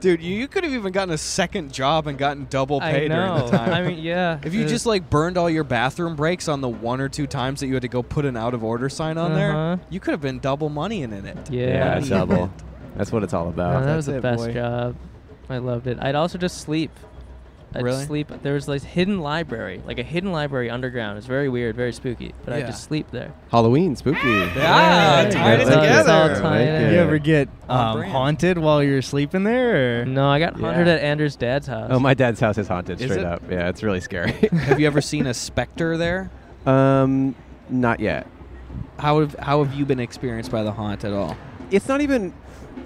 Dude, you, you could have even gotten a second job and gotten double
I
pay during
know.
the time.
I mean, yeah.
if you
it-
just like burned all your bathroom breaks on the one or two times that you had to go put an out of order sign on
Uh-huh.
there, you could have been double money in it.
yeah.
Yeah,
Yeah.
double. That's what it's all about.
No, that was
that's
the
it,
best
boy.
job. I loved it. I'd also just sleep. I'd
Really?
sleep. There was this hidden library, like a hidden library underground. It's very weird, very spooky. But I
Yeah.
just sleep there.
Halloween, spooky.
Ah,
Yeah.
tied it
It's all- it's all
together.
tied in.
Like it.
You ever get
On
um,
brand.
haunted while you're sleeping there? Or?
No, I got haunted at Andrew's dad's house.
Oh, my dad's house is haunted,
Is
straight
it?
up. Yeah, it's really scary.
have you ever seen a specter there?
um, not yet.
How have, how have you been experienced by the haunt at all?
It's not even.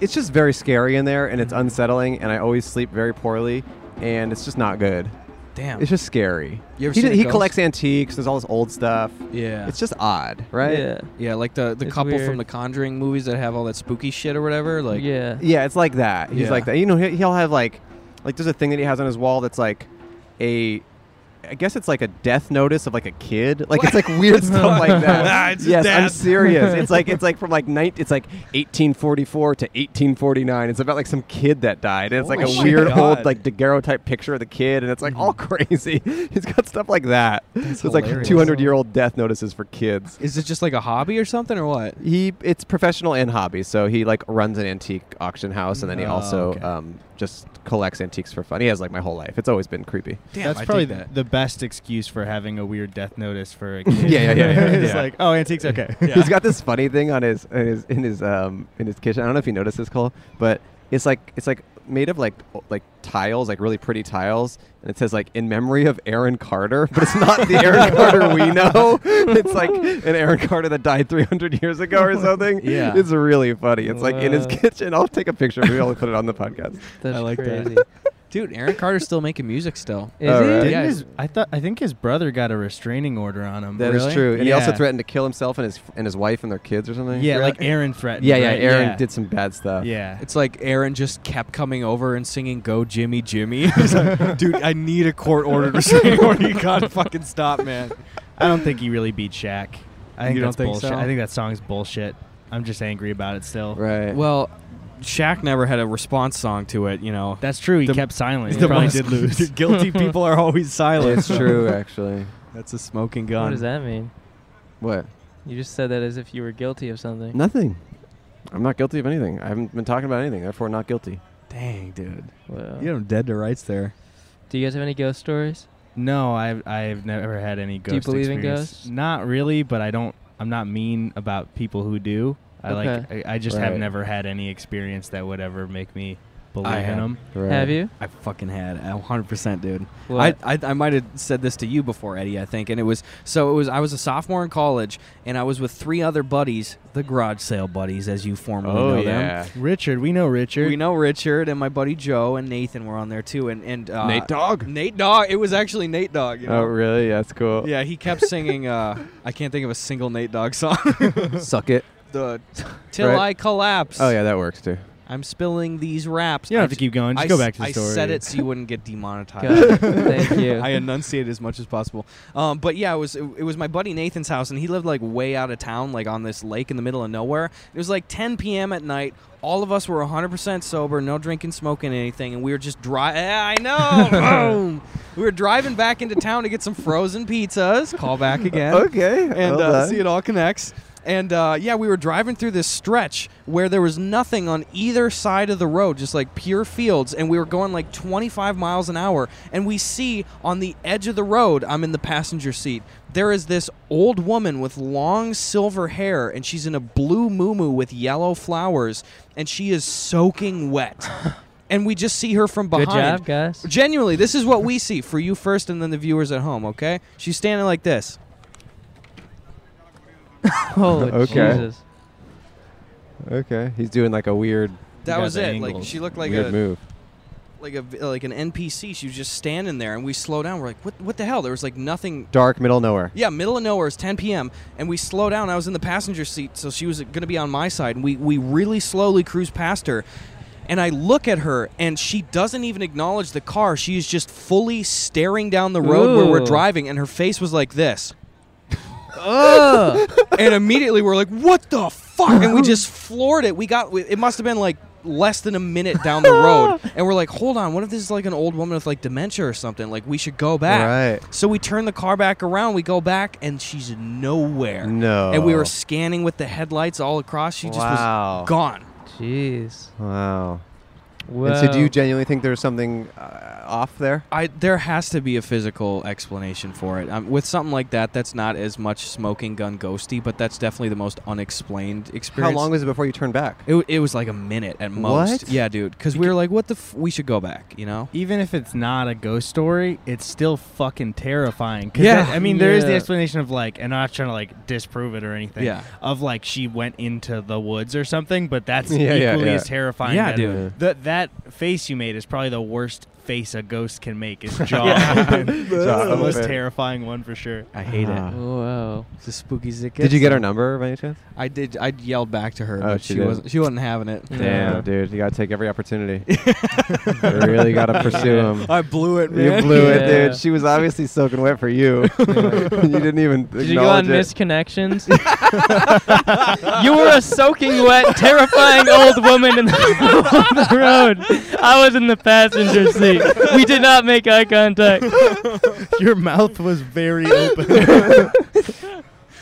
It's just very scary in there, and it's unsettling, and I always sleep very poorly, and it's just not good.
Damn.
It's just scary.
You ever
he
seen a
he
ghost?
collects antiques. There's all this old stuff.
Yeah.
It's just odd, right?
Yeah.
yeah, like the, the
It's
couple from
weird.
the Conjuring movies that have all that spooky shit or whatever. Like,
yeah.
Yeah, it's like that. He's
Yeah.
like that. You know, he- he'll have like, like there's a thing that he has on his wall that's like a I guess it's like a death notice of like a kid. Like it's like weird stuff like
Nah,
that.
it's just
yes, I'm
death.
serious. It's like it's like from like nine, it's like 1844 to 1849. It's about like some kid that died. And it's like
Holy
a weird
shit.
old
God. Mm-hmm.
like daguerreotype type picture of the kid, and it's like all crazy. He's got stuff like that. so it's like
hilarious.
200 year old death notices for kids.
Is it just like a hobby or something or what?
He it's professional and hobby, so he like runs an antique auction house, and then he
Oh,
also
okay.
um, just collects antiques for fun. He has like my whole life. It's always been creepy.
Damn,
That's
I
probably
think
the-
the best excuse for having a weird death notice for a kid.
Yeah, yeah, yeah, yeah,
it's
yeah.
like, oh, antiques, okay.
He's got this funny thing on his in his in his um in his kitchen. I don't know if you noticed this, Cole, but it's like it's like made of like o- like tiles, like really pretty tiles, and it says like in memory of Aaron Carter, but it's not the Aaron Carter we know. It's like an Aaron Carter that died 300 years ago or something.
Yeah.
it's really funny. It's like in his
Wow.
Uh.
kitchen. I'll take a picture. Maybe I'll put it on the podcast.
That's
I like that.
crazy.
Dude, Aaron Carter's still making music still.
Is
All
he?
right.
Didn't
Yeah.
his- I thought I think his brother got a restraining order on him.
That is true. And he also
Yeah.
threatened to kill himself and his and his wife and their kids or something.
Yeah, like Aaron threatened.
yeah, yeah.
right?
Aaron did some bad stuff.
Yeah.
It's like Aaron just kept coming over and singing "Go Jimmy Jimmy." He's like, Dude, I need a court order to say order. You gotta fucking stop, man.
I don't think he really beat Shaq. I think
You don't
that's
think
bullshit.
so?
I think that song's bullshit. I'm just angry about it still.
Right.
Well, Shaq never had a response song to it, you know.
That's true. He
The-
kept silent. He
The
probably
most-
did lose.
Guilty people are always silent.
it's true actually.
That's a smoking gun.
What does that mean?
What?
You just said that as if you were guilty of something.
Nothing. I'm not guilty of anything. I haven't been talking about anything, therefore not guilty.
Dang, dude.
Wow.
You know, dead to rights there.
Do you guys have any ghost stories?
no, I've I've never had any
Do you
ghost.
believe in
experience.
ghosts?
Not really, but I don't. I'm not mean about people who do. I
Okay.
like. I, I just
Right.
have never had any experience that would ever make me believe in
have.
them.
Right.
Have you?
I fucking had a 100%, dude. I,
What?
I, I might have said this to you before, Eddie, I think. And it was so it was I was a sophomore in college and I was with three other buddies, the garage sale buddies, as you formerly
Oh
know them.
yeah.
Richard, we know Richard.
We know Richard and my buddy Joe and Nathan were on there too, and and uh,
Nate Dogg.
Nate Dogg. It was actually Nate Dogg. You know?
Oh really? Yeah, that's cool.
Yeah, he kept singing. Uh, I can't think of a single Nate Dogg song.
Suck it.
the till
Right.
I collapse.
Oh yeah, that works too.
I'm spilling these raps.
You don't
I
have to keep going. Just
I
go
s-
back to the
I
story.
said it so you wouldn't get demonetized.
God, thank you.
I enunciated as much as possible. Um, but yeah, it was it, it was my buddy Nathan's house, and he lived like way out of town, like on this lake in the middle of nowhere. It was like 10 p.m. at night. All of us were 100% sober, no drinking, smoking, anything, and we were just driving. I know. Boom. We were driving back into town to get some frozen pizzas. Call back again
Okay.
and
well
uh,
done.
see it all connects. And uh, yeah, we were driving through this stretch where there was nothing on either side of the road, just like pure fields, and we were going like 25 miles an hour. And we see on the edge of the road, I'm in the passenger seat. There is this old woman with long silver hair, and she's in a blue muumuu with yellow flowers, and she is soaking wet. and we just see her from
Good
behind.
job, guys.
Genuinely, this is what we see for you first, and then the viewers at home. Okay, she's standing like this.
Oh,
Okay.
Jesus.
okay. He's doing like a weird
That
got
was
the
it. Like
angles.
she looked like
weird
a
move.
like a like an NPC. She was just standing there, and we slow down. We're like, what what the hell? There was like nothing.
Dark middle of nowhere.
Yeah, middle of nowhere. It's 10 p.m. and we slow down. I was in the passenger seat, so she was going to be on my side. And we we really slowly cruise past her, and I look at her, and she doesn't even acknowledge the car. She is just fully staring down the road where we're
Ooh.
driving, and her face was like this.
Ugh.
and immediately we're like, "What the fuck?" And we just floored it. We got it. Must have been like less than a minute down the road, and we're like, "Hold on, what if this is like an old woman with like dementia or something? Like we should go back."
Right.
So we turn the car back around. We go back, and she's nowhere.
No.
And we were scanning with the headlights all across. She just
wow.
was gone.
Jeez.
Wow.
Whoa.
And so, do you genuinely think there's something uh, off there?
I there has to be a physical explanation for it. Um, with something like that, that's not as much smoking gun ghosty, but that's definitely the most unexplained
How
experience.
long was it before you turned back?
It, it was like a minute at most.
What?
Yeah, dude. Because we were like, what the? F- we should go back. You know.
even if it's not a ghost story, it's still fucking terrifying. 'Cause
Yeah.
that- I mean, there is the
Yeah.
explanation of like, and I'm not trying to like disprove it or anything.
Yeah.
Of like she went into the woods or something, but that's
Yeah, yeah,
equally
yeah.
as terrifying.
Yeah,
that-
dude.
That that face you made is probably the worst face a ghost can make is
Yeah.
jaw open.
That's
Jaw the most
open.
terrifying one for sure.
I hate it. Ah.
Whoa. It's a spooky zick.
Did you get her number by any chance?
I did. I yelled back to her,
Oh,
but
she
she,
did.
wasn't. She wasn't having it.
Damn, dude, you gotta take every opportunity. you really gotta pursue him.
I blew it, man.
You blew it,
Yeah.
dude. She was obviously soaking wet for you. you didn't even
Did you go on
it.
misconnections? you were a soaking wet, terrifying old woman in the, on the road. I was in the passenger seat. We did not make eye contact.
Your mouth was very open.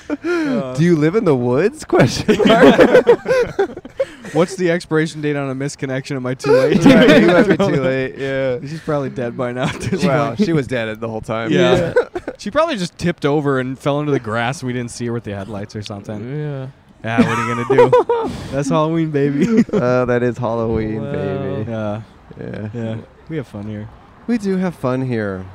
Do you live in the woods? Question
What's the expiration date on a misconnection? Am I too late?
Right, you might be too late. Yeah.
She's probably dead by now. at this
Wow,
point.
she was dead the whole time.
Yeah. she probably just tipped over and fell into the grass. and We didn't see her with the headlights or
Mm-hmm.
something.
Yeah.
Yeah, what are you gonna do? That's Halloween, baby.
Uh, that is Halloween, baby.
Yeah,
Yeah.
yeah. We have fun here.
We do have fun here.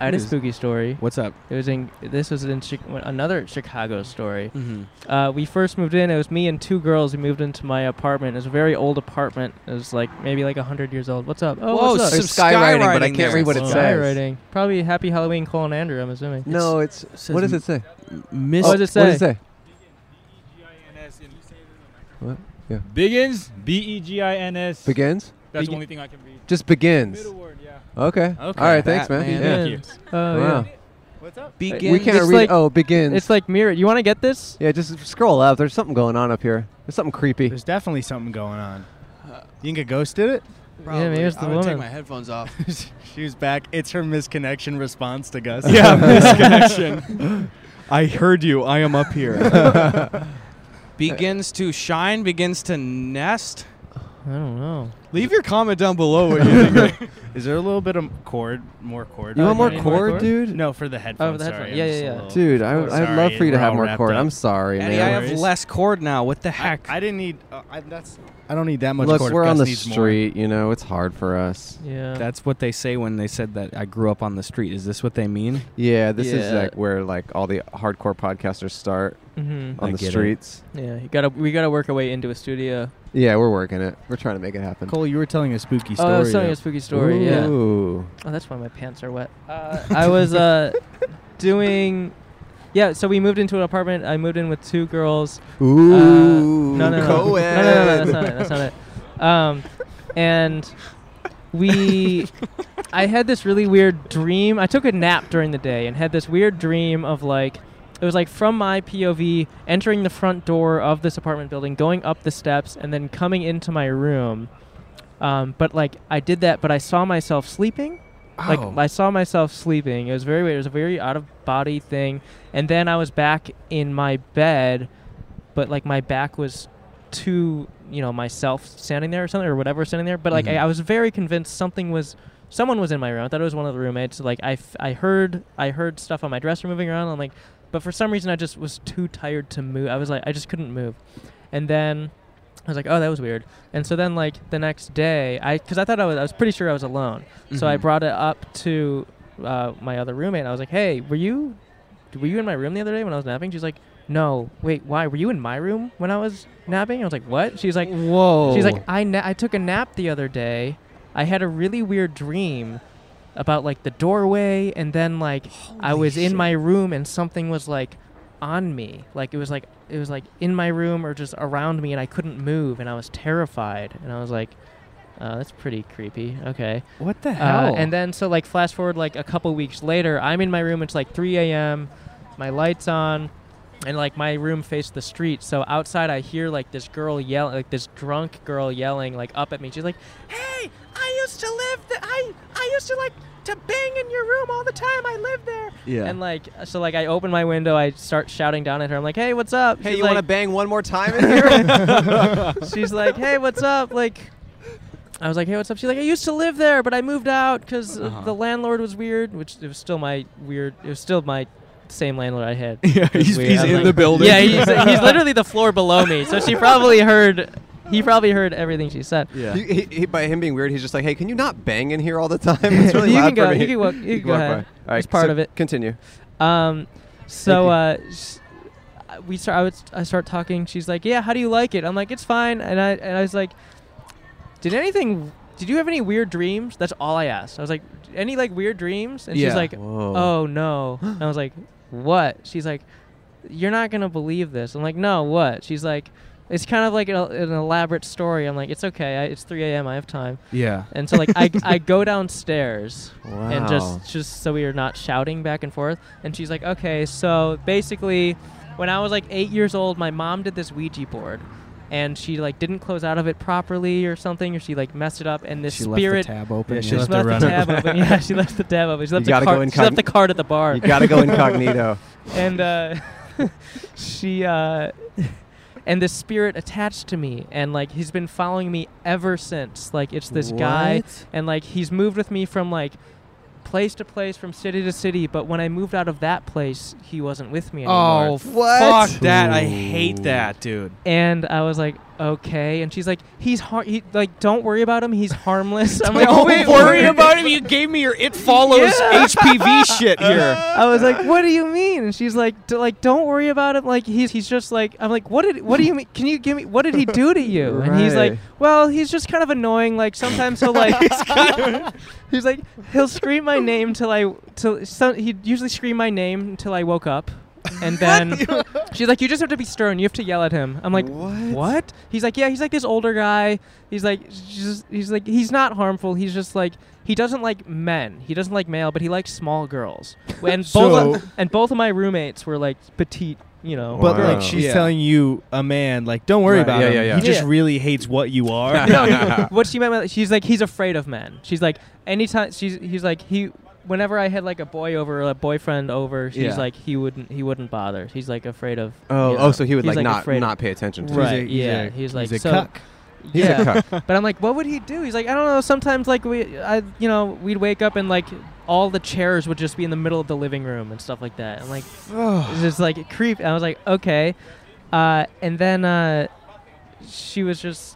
I had a
Is-
spooky story.
What's up?
It was in. This was in Chi- another Chicago story.
Mm-hmm.
Uh, we first moved in. It was me and two girls. We moved into my apartment. It was a very old apartment. It was like maybe like hundred years old. What's up? Oh,
Whoa,
what's up?
some skywriting, but I can't read what it
Some
says.
skywriting. Probably Happy Halloween, Cole and Andrew. I'm assuming.
No, it's.
says
What does
m-
it say? Oh,
Miss
What does it
What does it
say?
say?
Begins. B E G I N S.
Begins?
That's
Begin-
the only thing I can read.
Just begins.
Middle word, yeah.
Okay. All right. Thanks, man.
Batman.
Yeah.
Thank you.
Oh,
Wow.
What's up?
Begin.
We can't
It's
read.
like-
oh,
yeah.
begins.
It's like mirror. You want to get this?
yeah, just scroll up. There's something going on up here. There's something creepy.
There's definitely something going on.
Uh,
You think a ghost did it?
Yeah, maybe it's the
I'm gonna
woman.
take my headphones off.
she was back. It's her misconnection response to Gus.
yeah, misconnection. I heard you. I am up here. begins to shine. Begins to nest.
I don't know.
Leave your comment down below. What you think.
Is there a little bit of cord? More cord?
you want more
you need more
cord,
cord?
dude?
No, for the headphones.
Oh, the
sorry,
headphone.
I'm
Yeah,
just
yeah,
a
yeah.
little-
Dude, I, I'd
Sorry,
love for you to
we're
have
all
more
wrapped
cord.
up.
I'm sorry,
Eddie, I
man.
have
worries.
less cord now. What the
I,
heck?
I didn't need. Uh, I, that's. I don't need that much.
Look,
cord.
we're
Gus
on the
needs more.
street. You know, it's hard for us.
Yeah.
That's what they say when they said that I grew up on the street. Is this what they mean?
Yeah, this is
Yeah.
like where like all the hardcore podcasters start
mm-hmm.
on
I
the
get it.
streets.
Yeah. You gotta. We gotta work our way into a studio.
Yeah, we're working it. We're trying to make it happen.
Cole, you were telling a spooky story.
oh, I was telling you a
though.
spooky story. Yeah.
Ooh.
Oh, that's why my pants are wet. Uh, I was uh, doing. Yeah, so we moved into an apartment. I moved in with two girls.
Ooh.
Uh, no, no, no, no, no, no, no,
Coed.
that's not it. That's not it. Um, and we, I had this really weird dream. I took a nap during the day and had this weird dream of like, it was like from my POV entering the front door of this apartment building, going up the steps, and then coming into my room. Um, but like I did that, but I saw myself sleeping. Like
Oh.
I saw myself sleeping. It was very weird. It was a very out of body thing. And then I was back in my bed, but like my back was to you know myself standing there or something or whatever standing there. But like I, I was very convinced something was someone was in my room. I thought it was one of the roommates. Like I, f- I heard I heard stuff on my dresser moving around. I'm like, but for some reason I just was too tired to move. I was like I just couldn't move. And then I was like, oh, that was weird. And so then, like the next day, I because I thought I was, I was pretty sure I was alone. So I
Mhm.
brought it up to uh, my other roommate. And I was like, hey, were you, were you in my room the other day when I was napping? She's like, no, wait, why? Were you in my room when I was napping? I was like, what? She's like,
Whoa.
she's like, I na- I took a nap the other day. I had a really weird dream about like the doorway, and then like I was in my room, and something was like on me. Like it was like it was like in my room or just around me, and I couldn't move, and I was terrified, and I was like. Uh, that's pretty creepy. Okay.
What the
Uh,
hell?
and then, so like, flash forward like a couple weeks later, I'm in my room. It's like 3 a.m. My lights on, and like my room faced the street. So outside, I hear like this girl yell, like this drunk girl yelling, like up at me. She's like, "Hey, I used to live. Th- I I used to like to bang in your room all the time. I lived there."
Yeah.
And like, so like, I open my window. I start shouting down at her. I'm like, "Hey, what's up?"
Hey,
She's
you
like,
want to bang one more time in here?
she's like, "Hey, what's up?" Like, I was like, "Hey, what's up?" She's like, "I used to live there, but I moved out because
Uh-huh.
the landlord was weird." Which it was still my weird. It was still my same landlord I had.
yeah,
It was
he's,
weird.
he's
I'm
in
like-
the building.
Yeah, he's, he's literally the floor below me, so she probably heard. He probably heard everything she said.
yeah.
he, he, he, by him being weird, he's just like, hey, can you not bang in here all the time? It's really
you can
loud for
go.
me.
You can walk. You, can go
walk
ahead.
by. All right,
It's part
so
of it.
Continue.
Um, so uh, s- I- we start. I would. I start talking. She's like, "Yeah, how do you like it?" I'm like, "It's fine." And I and I was like, "Did anything did you have any weird dreams? That's all I asked. I was like, any like weird dreams? And she's
Yeah.
like,
Whoa.
oh no. And I was like, what? She's like, you're not gonna believe this. I'm like, no, what? She's like, it's kind of like an, an elaborate story. I'm like, it's okay. I, it's 3 a.m. I have time.
Yeah.
And so like I, I go downstairs and
Wow.
just just so we are not shouting back and forth. And she's like, okay, so basically, when I was like eight years old, my mom did this Ouija board, and she like didn't close out of it properly or something, or she like messed it up, and this
She left the
spirit
tab open,
Yeah,
yeah.
she left,
Left the
the
runner.
tab open. Yeah, she left the tab open. She
You
left, the,
gotta
card,
go
she left the
incogn-
card at the bar.
You gotta go incognito.
and uh, she. Uh, and this spirit attached to me and like he's been following me ever since like it's this guy
What?
and like he's moved with me from like place to place from city to city but when i moved out of that place he wasn't with me anymore
Oh, What? fuck that. I hate that,
dude.
and i was like okay and she's like he's har- he, like don't worry about him he's harmless i'm like
Don't
wait,
worry
what?
about him. You gave me your it follows
Yeah.
HPV shit here.
I was like, "What do you mean?" And she's like, D- "Like, don't worry about it. Like, he's he's just like, I'm like, what did what do you mean? Can you give me what did he do to you?" And he's like,
Right.
"Well, he's just kind of annoying. Like sometimes he'll like, he's like, he'll scream my name till I till so he'd usually scream my name until I woke up." And then she's like, "You just have to be stern. You have to yell at him." I'm like, "What?" He's like, "Yeah, he's like this older guy. He's like, he's just, he's like, he's not harmful. He's just like, he doesn't like men. He doesn't like male, but he likes small girls." And both
So-
of, and both of my roommates were like petite, you know.
But like she's telling you, a man, like don't worry
Right.
about
Yeah,
him.
yeah, yeah.
He just
Yeah.
really hates what you are.
no, no. What she meant by that, she's like, he's afraid of men. She's like, anytime she's, he's like, he, whenever I had like a boy over, or a boyfriend over, she's
Yeah.
like, he wouldn't, he wouldn't bother. He's like afraid of.
Oh,
you
oh,
know,
so he would,
he's,
like, not-
afraid of-
not pay attention to him. He's a-
Right.
he's
yeah.
a-
he's
he's
like
a
so,
cuck. He's a
yeah.
cuck.
but I'm like, what would he do? He's like, I don't know. Sometimes like we, I, you know, we'd wake up and like all the chairs would just be in the middle of the living room and stuff like that. I'm like, it's just like creep. I was like, okay. Uh, and then uh, she was just.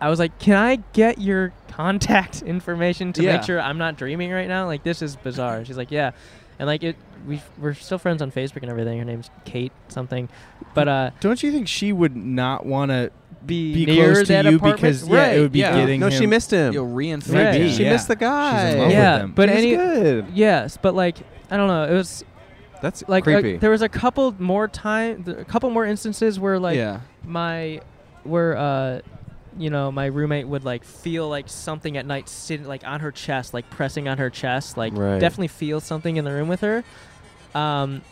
I was like, "Can I get your contact information to
Yeah.
make sure I'm not dreaming right now? Like, this is bizarre." She's like, "Yeah," and like it, we we're still friends on Facebook and everything. Her name's Kate something, but uh,
Don't you think she would not want to
be,
close
near
to
that
you
apartment?
because yeah,
Right,
it would be
yeah.
getting
No, she missed him.
You'll
Right.
reinforce.
Maybe,
She
yeah.
missed the
She's in love
yeah,
with him.
but
She's
any
good.
yes, but like I don't know, it was
That's
like uh,
creepy.
there was a couple more time, th- a couple more instances where like
Yeah.
my where uh you know my roommate would like feel like something at night sitting like on her chest, like pressing on her chest, like
Right.
definitely feel something in the room with her. Um,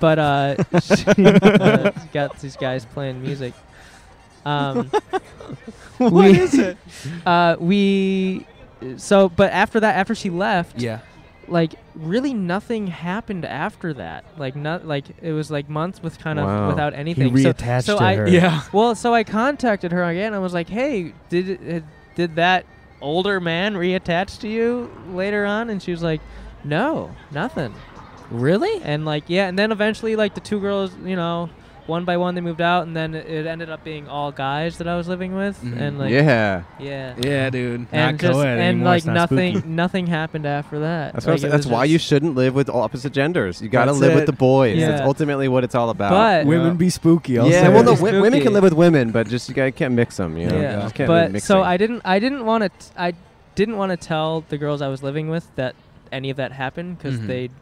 but uh, she, uh, got these guys playing music. Um,
What
we-
is it?
Uh, we so, but after that, after she left,
Yeah.
like really nothing happened after that. Like not like it was like months with kind of
Wow.
without
He
anything. So-
reattached
so,
to
I
her. Yeah.
Well, so I contacted her again. I was like, hey, did it- uh, did that older man reattach to you later on? And she was like, no, nothing.
Really?
And like yeah, and then eventually like the two girls, you know. One by one, they moved out, and then it ended up being all guys that I was living with,
Mhm.
and like
Mm-hmm. Yeah.
yeah,
Yeah, dude.
and
Not
just
co-ed
and
anymore,
like
it's not
nothing,
spooky.
nothing happened after that.
That's, what I'm
Like,
saying.
it
that's
was
why
just-
you shouldn't live with opposite genders. You gotta
That's
live
it.
with the boys.
Yeah.
That's ultimately what it's all about.
But- Women
be spooky, I'll
yeah,
say
well,
that.
no,
Be
w- women
spooky.
can live with women, but just you gotta, can't mix them. You know?
Yeah.
Just can't
but
be mixing.
so I didn't I didn't want to I didn't want to tell the girls I was living with that any of that happened because
Mhm.
they'd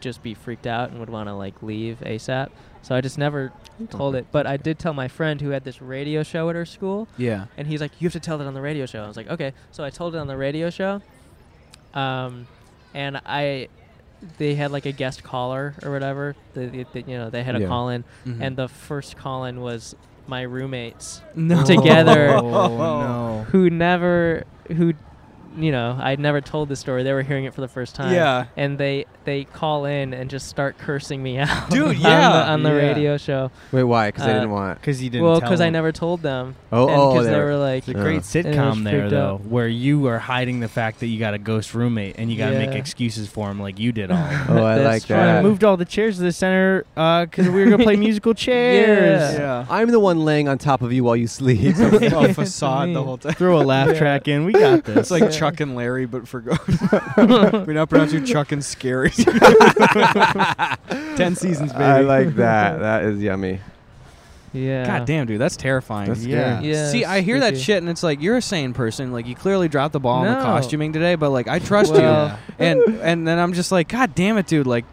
just be freaked out and would want to like leave ASAP. So I just never told it. But I did tell my friend who had this radio show at her school.
Yeah.
And he's like, "You have to tell that on the radio show." I was like, "Okay." So I told it on the radio show. Um, and I they had like a guest caller or whatever. The, the, the- you know they had a
Yeah.
call in,
Mm-hmm.
Mhm.
and the first call in was my roommates
No.
together
Oh, no.
who never who you know I'd never told the story. They were hearing it for the first time.
Yeah.
and they they call in and just start cursing me out. on
Dude,
the-
yeah.
on the,
Yeah.
radio show.
Wait, why? 'Cause they didn't want-
'Cause you didn't
Well,
tell
I
them.
never told them.
Oh,
Uh, and
oh,
'cause
they
they
were-
were like
It's a great
and it was
sitcom there,
freaked
though,
out.
where you are hiding the fact that you got a ghost roommate and you got to make
Yeah.
excuses for him, like you did all.
Oh, I That's like true. that.
I moved all the chairs to the center
uh,
because we were gonna play musical chairs.
I'm the one laying on top of you while you sleep.
Oh,
facade the whole time.
Throw a laugh track in. We got this.
It's like Chuck and Larry, but for ghosts. we now pronounce you Chuck and Scary. Ten seasons, baby.
I like that. That is yummy.
Yeah.
God damn, dude, that's terrifying.
That's Yeah. scary. Yeah,
See, I hear that
spooky.
shit, and it's like you're a sane person. Like you clearly dropped the ball on the
No.
costuming today, but like I trust
Well-
you. And and then I'm just like, God damn it, dude. Like,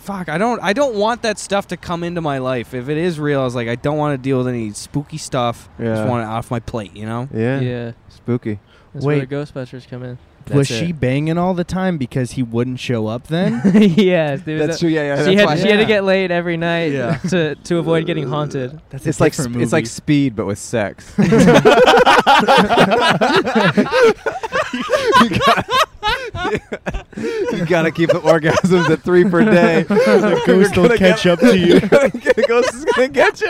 fuck, I don't I don't want that stuff to come into my life. If it is real, I was like, I don't want to deal with any spooky stuff. I
Yeah.
just want it off my plate, you know?
Yeah.
Yeah.
Spooky.
That's where
Wait.
the Ghostbusters come in.
was she banging all the time because he wouldn't show up then?
yes, there was
That's
a-
true, yeah, yeah,
She
that's
had
why-
she had to
Yeah.
get laid every night
Yeah.
to to avoid getting haunted.
That's
it's like sp- it's like speed, but with sex. you gotta, you gotta keep the orgasms at three per day.
The ghost will catch up to you.
the ghost is gonna get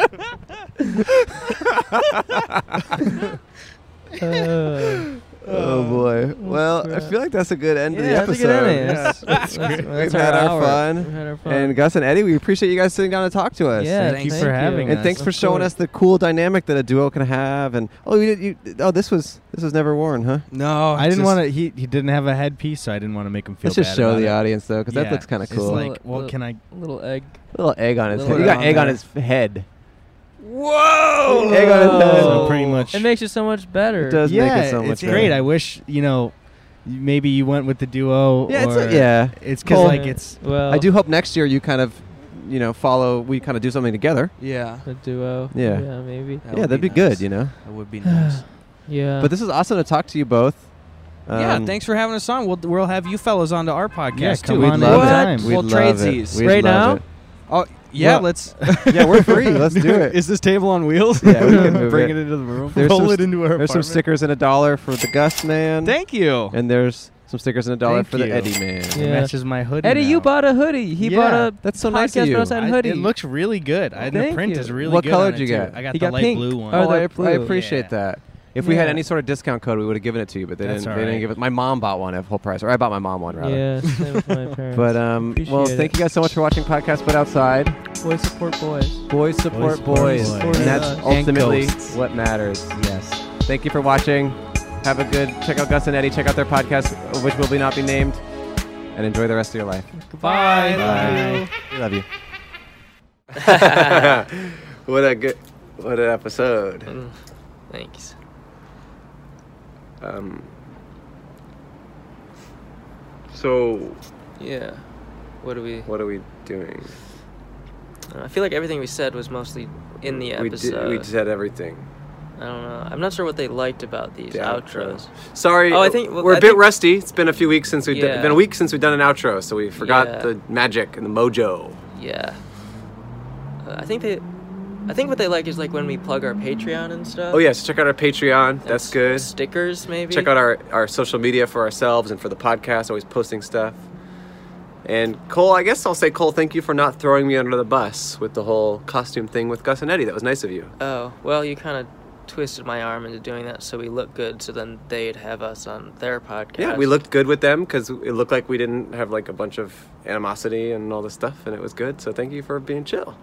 you.
Uh,
oh boy. Well, I feel like that's a good end to the
Yeah, that's a
episode.
good ending. That's- that's- that's- that's
We've had
our
our,
hour.
fun.
We've had our fun.
And Gus and Eddie, we appreciate you guys sitting down to talk to us.
Yeah, Thank you thank for you. having
and
us.
thanks
Of
for showing
course.
us the cool dynamic that a duo can have. And oh, you, did, you oh this was this was never worn, huh?
No,
I didn't
just-
want to. He he didn't have a headpiece, so I didn't want to make him feel.
Let's just
bad
show
about
the
it.
audience, though, 'cause that looks kinda
It's
cool.
like, well,
Little-
can I?
Little egg.
Little egg on his
Little
head. You got
egg
egg
on
on
there.
his head.
Whoa!
Egg on his head. So
pretty much-
It makes it so much better.
It does make
yeah,
it so much
it's great.
better.
I wish you know, y- maybe you went with the duo.
Yeah, it's
or
like- yeah.
It's because
Cool.
like it's
Well,
I do hope next year you kind of, you know, follow. We kind of do something together.
Yeah.
a duo.
Yeah.
Yeah, maybe.
That
yeah,
would
that'd be,
be
good.
nice.
You know.
That would be nice.
Yeah.
But this is awesome to talk to you both.
yeah,
Um,
thanks for having us on. We'll we'll have you fellows onto our podcast
come
too.
on in. What?
it.
We'll
We'd
trade
love it.
these.
We'd
Right now?
love it.
Oh yeah,
Well-
let's.
Yeah, we're free. Let's do it.
Is this table on wheels?
Yeah, we can move
bring
it.
it into the room.
There's
roll
some
it into our
There's some
apartment.
stickers and a dollar for the Gus man.
Thank you.
And there's some stickers and a dollar
Thank
for the
you.
Eddie man.
It
Yeah.
matches my hoodie.
Eddie, you
now.
bought a hoodie. He bought
Yeah.
a
That's so nice of
podcast
you.
notes on
I-
hoodie.
It looks really good. I, the
Thank
print
you.
is really
What
good.
color
on
did
it,
you
too.
get?
I got
He
the
got
light
pink.
blue one.
Oh,
Oh, I,
they're
I
blue.
appreciate
Yeah.
that. If we had
Yeah.
any sort of discount code, we would have given it to you, but they
That's
didn't.
all
They didn't
right.
give it. My mom bought one at full price, or I bought my mom one rather.
Yeah, same with my parents.
But um, well,
Appreciate
thank
it.
you guys so much for watching podcast. But outside,
Boys support boys.
boys support boys,
boys.
and that's
And
ultimately
ghosts.
what matters. Yes. Thank you for watching. Have a good. Check out Gus and Eddie. Check out their podcast, which will be not be named, and enjoy the rest of your life.
Goodbye.
We love you. what a good, what an episode.
Thanks.
Um, so,
Yeah. What do we?
what are we doing?
I feel like everything we said was mostly in the
we,
episode.
did, we said everything.
I don't know. I'm not sure what they liked about these
The outro.
outros.
Sorry,
Oh, I think- well,
we're a
I
bit
think-
rusty. It's been a few weeks since we've d-
Yeah.
been a week since we've done an outro, so we forgot
Yeah.
the magic and the mojo.
Yeah. Uh, I think they. I think what they like is like when we plug our Patreon and stuff.
Oh yes, check out our Patreon.
and
That's
s-
good.
Stickers maybe.
Check out our our social media for ourselves and for the podcast. Always posting stuff. And Cole, I guess I'll say Cole, thank you for not throwing me under the bus with the whole costume thing with Gus and Eddie. That was nice of you.
Oh well, you kind of twisted my arm into doing that so we look good, so then they'd have us on their podcast.
Yeah, we looked good with them because it looked like we didn't have like a bunch of animosity and all this stuff, and it was good. So thank you for being chill.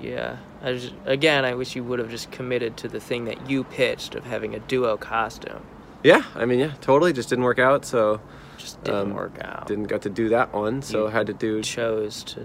Yeah. I just, again, I wish you would have just committed to the thing that you pitched of having a duo costume.
Yeah, I mean, yeah, totally. Just didn't work out, so
Just didn't
Um,
work out.
didn't got to do that one. So had to do.
chose to.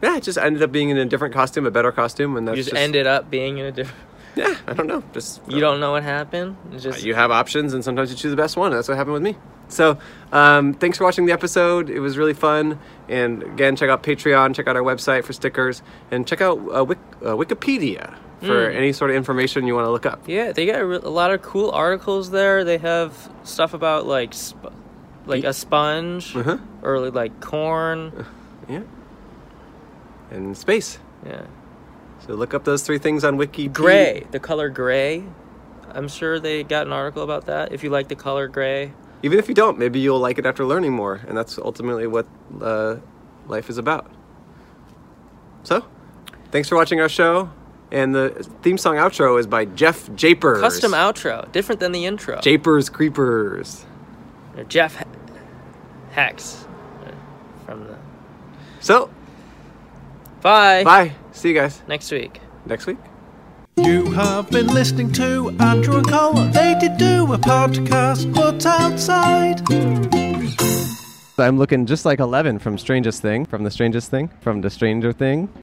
Yeah, it just ended up being in a different costume, a better costume, and
You
that's
just, ended up being in a different.
Yeah, I don't know. Just Uh,
You don't know what happened. It's just
You have options, and sometimes you choose the best one. That's what happened with me. So, um, thanks for watching the episode. It was really fun. And again, check out Patreon, check out our website for stickers, and check out uh, Wik- uh, Wikipedia for
Mm.
any sort of information you want to look up.
Yeah, they got a, re- a lot of cool articles there. They have stuff about like sp- like a sponge
Uh-huh. Uh.
or like corn.
Yeah. And space.
Yeah.
So look up those three things on Wiki.
Gray, the color gray. I'm sure they got an article about that. If you like the color gray,
Even if you don't, maybe you'll like it after learning more, and that's ultimately what uh, life is about. So, thanks for watching our show. And the theme song outro is by Jeff Japers.
custom outro, different than the intro.
Japers Creepers.
Or Jeff He- Hex uh, from the
So,
Bye.
bye. See you guys
Next week.
next week.
You have been listening to Andrew and Cole. They did do a podcast, but outside.
I'm looking just like Eleven from Strangest Thing, from the Strangest Thing, from the Stranger Thing.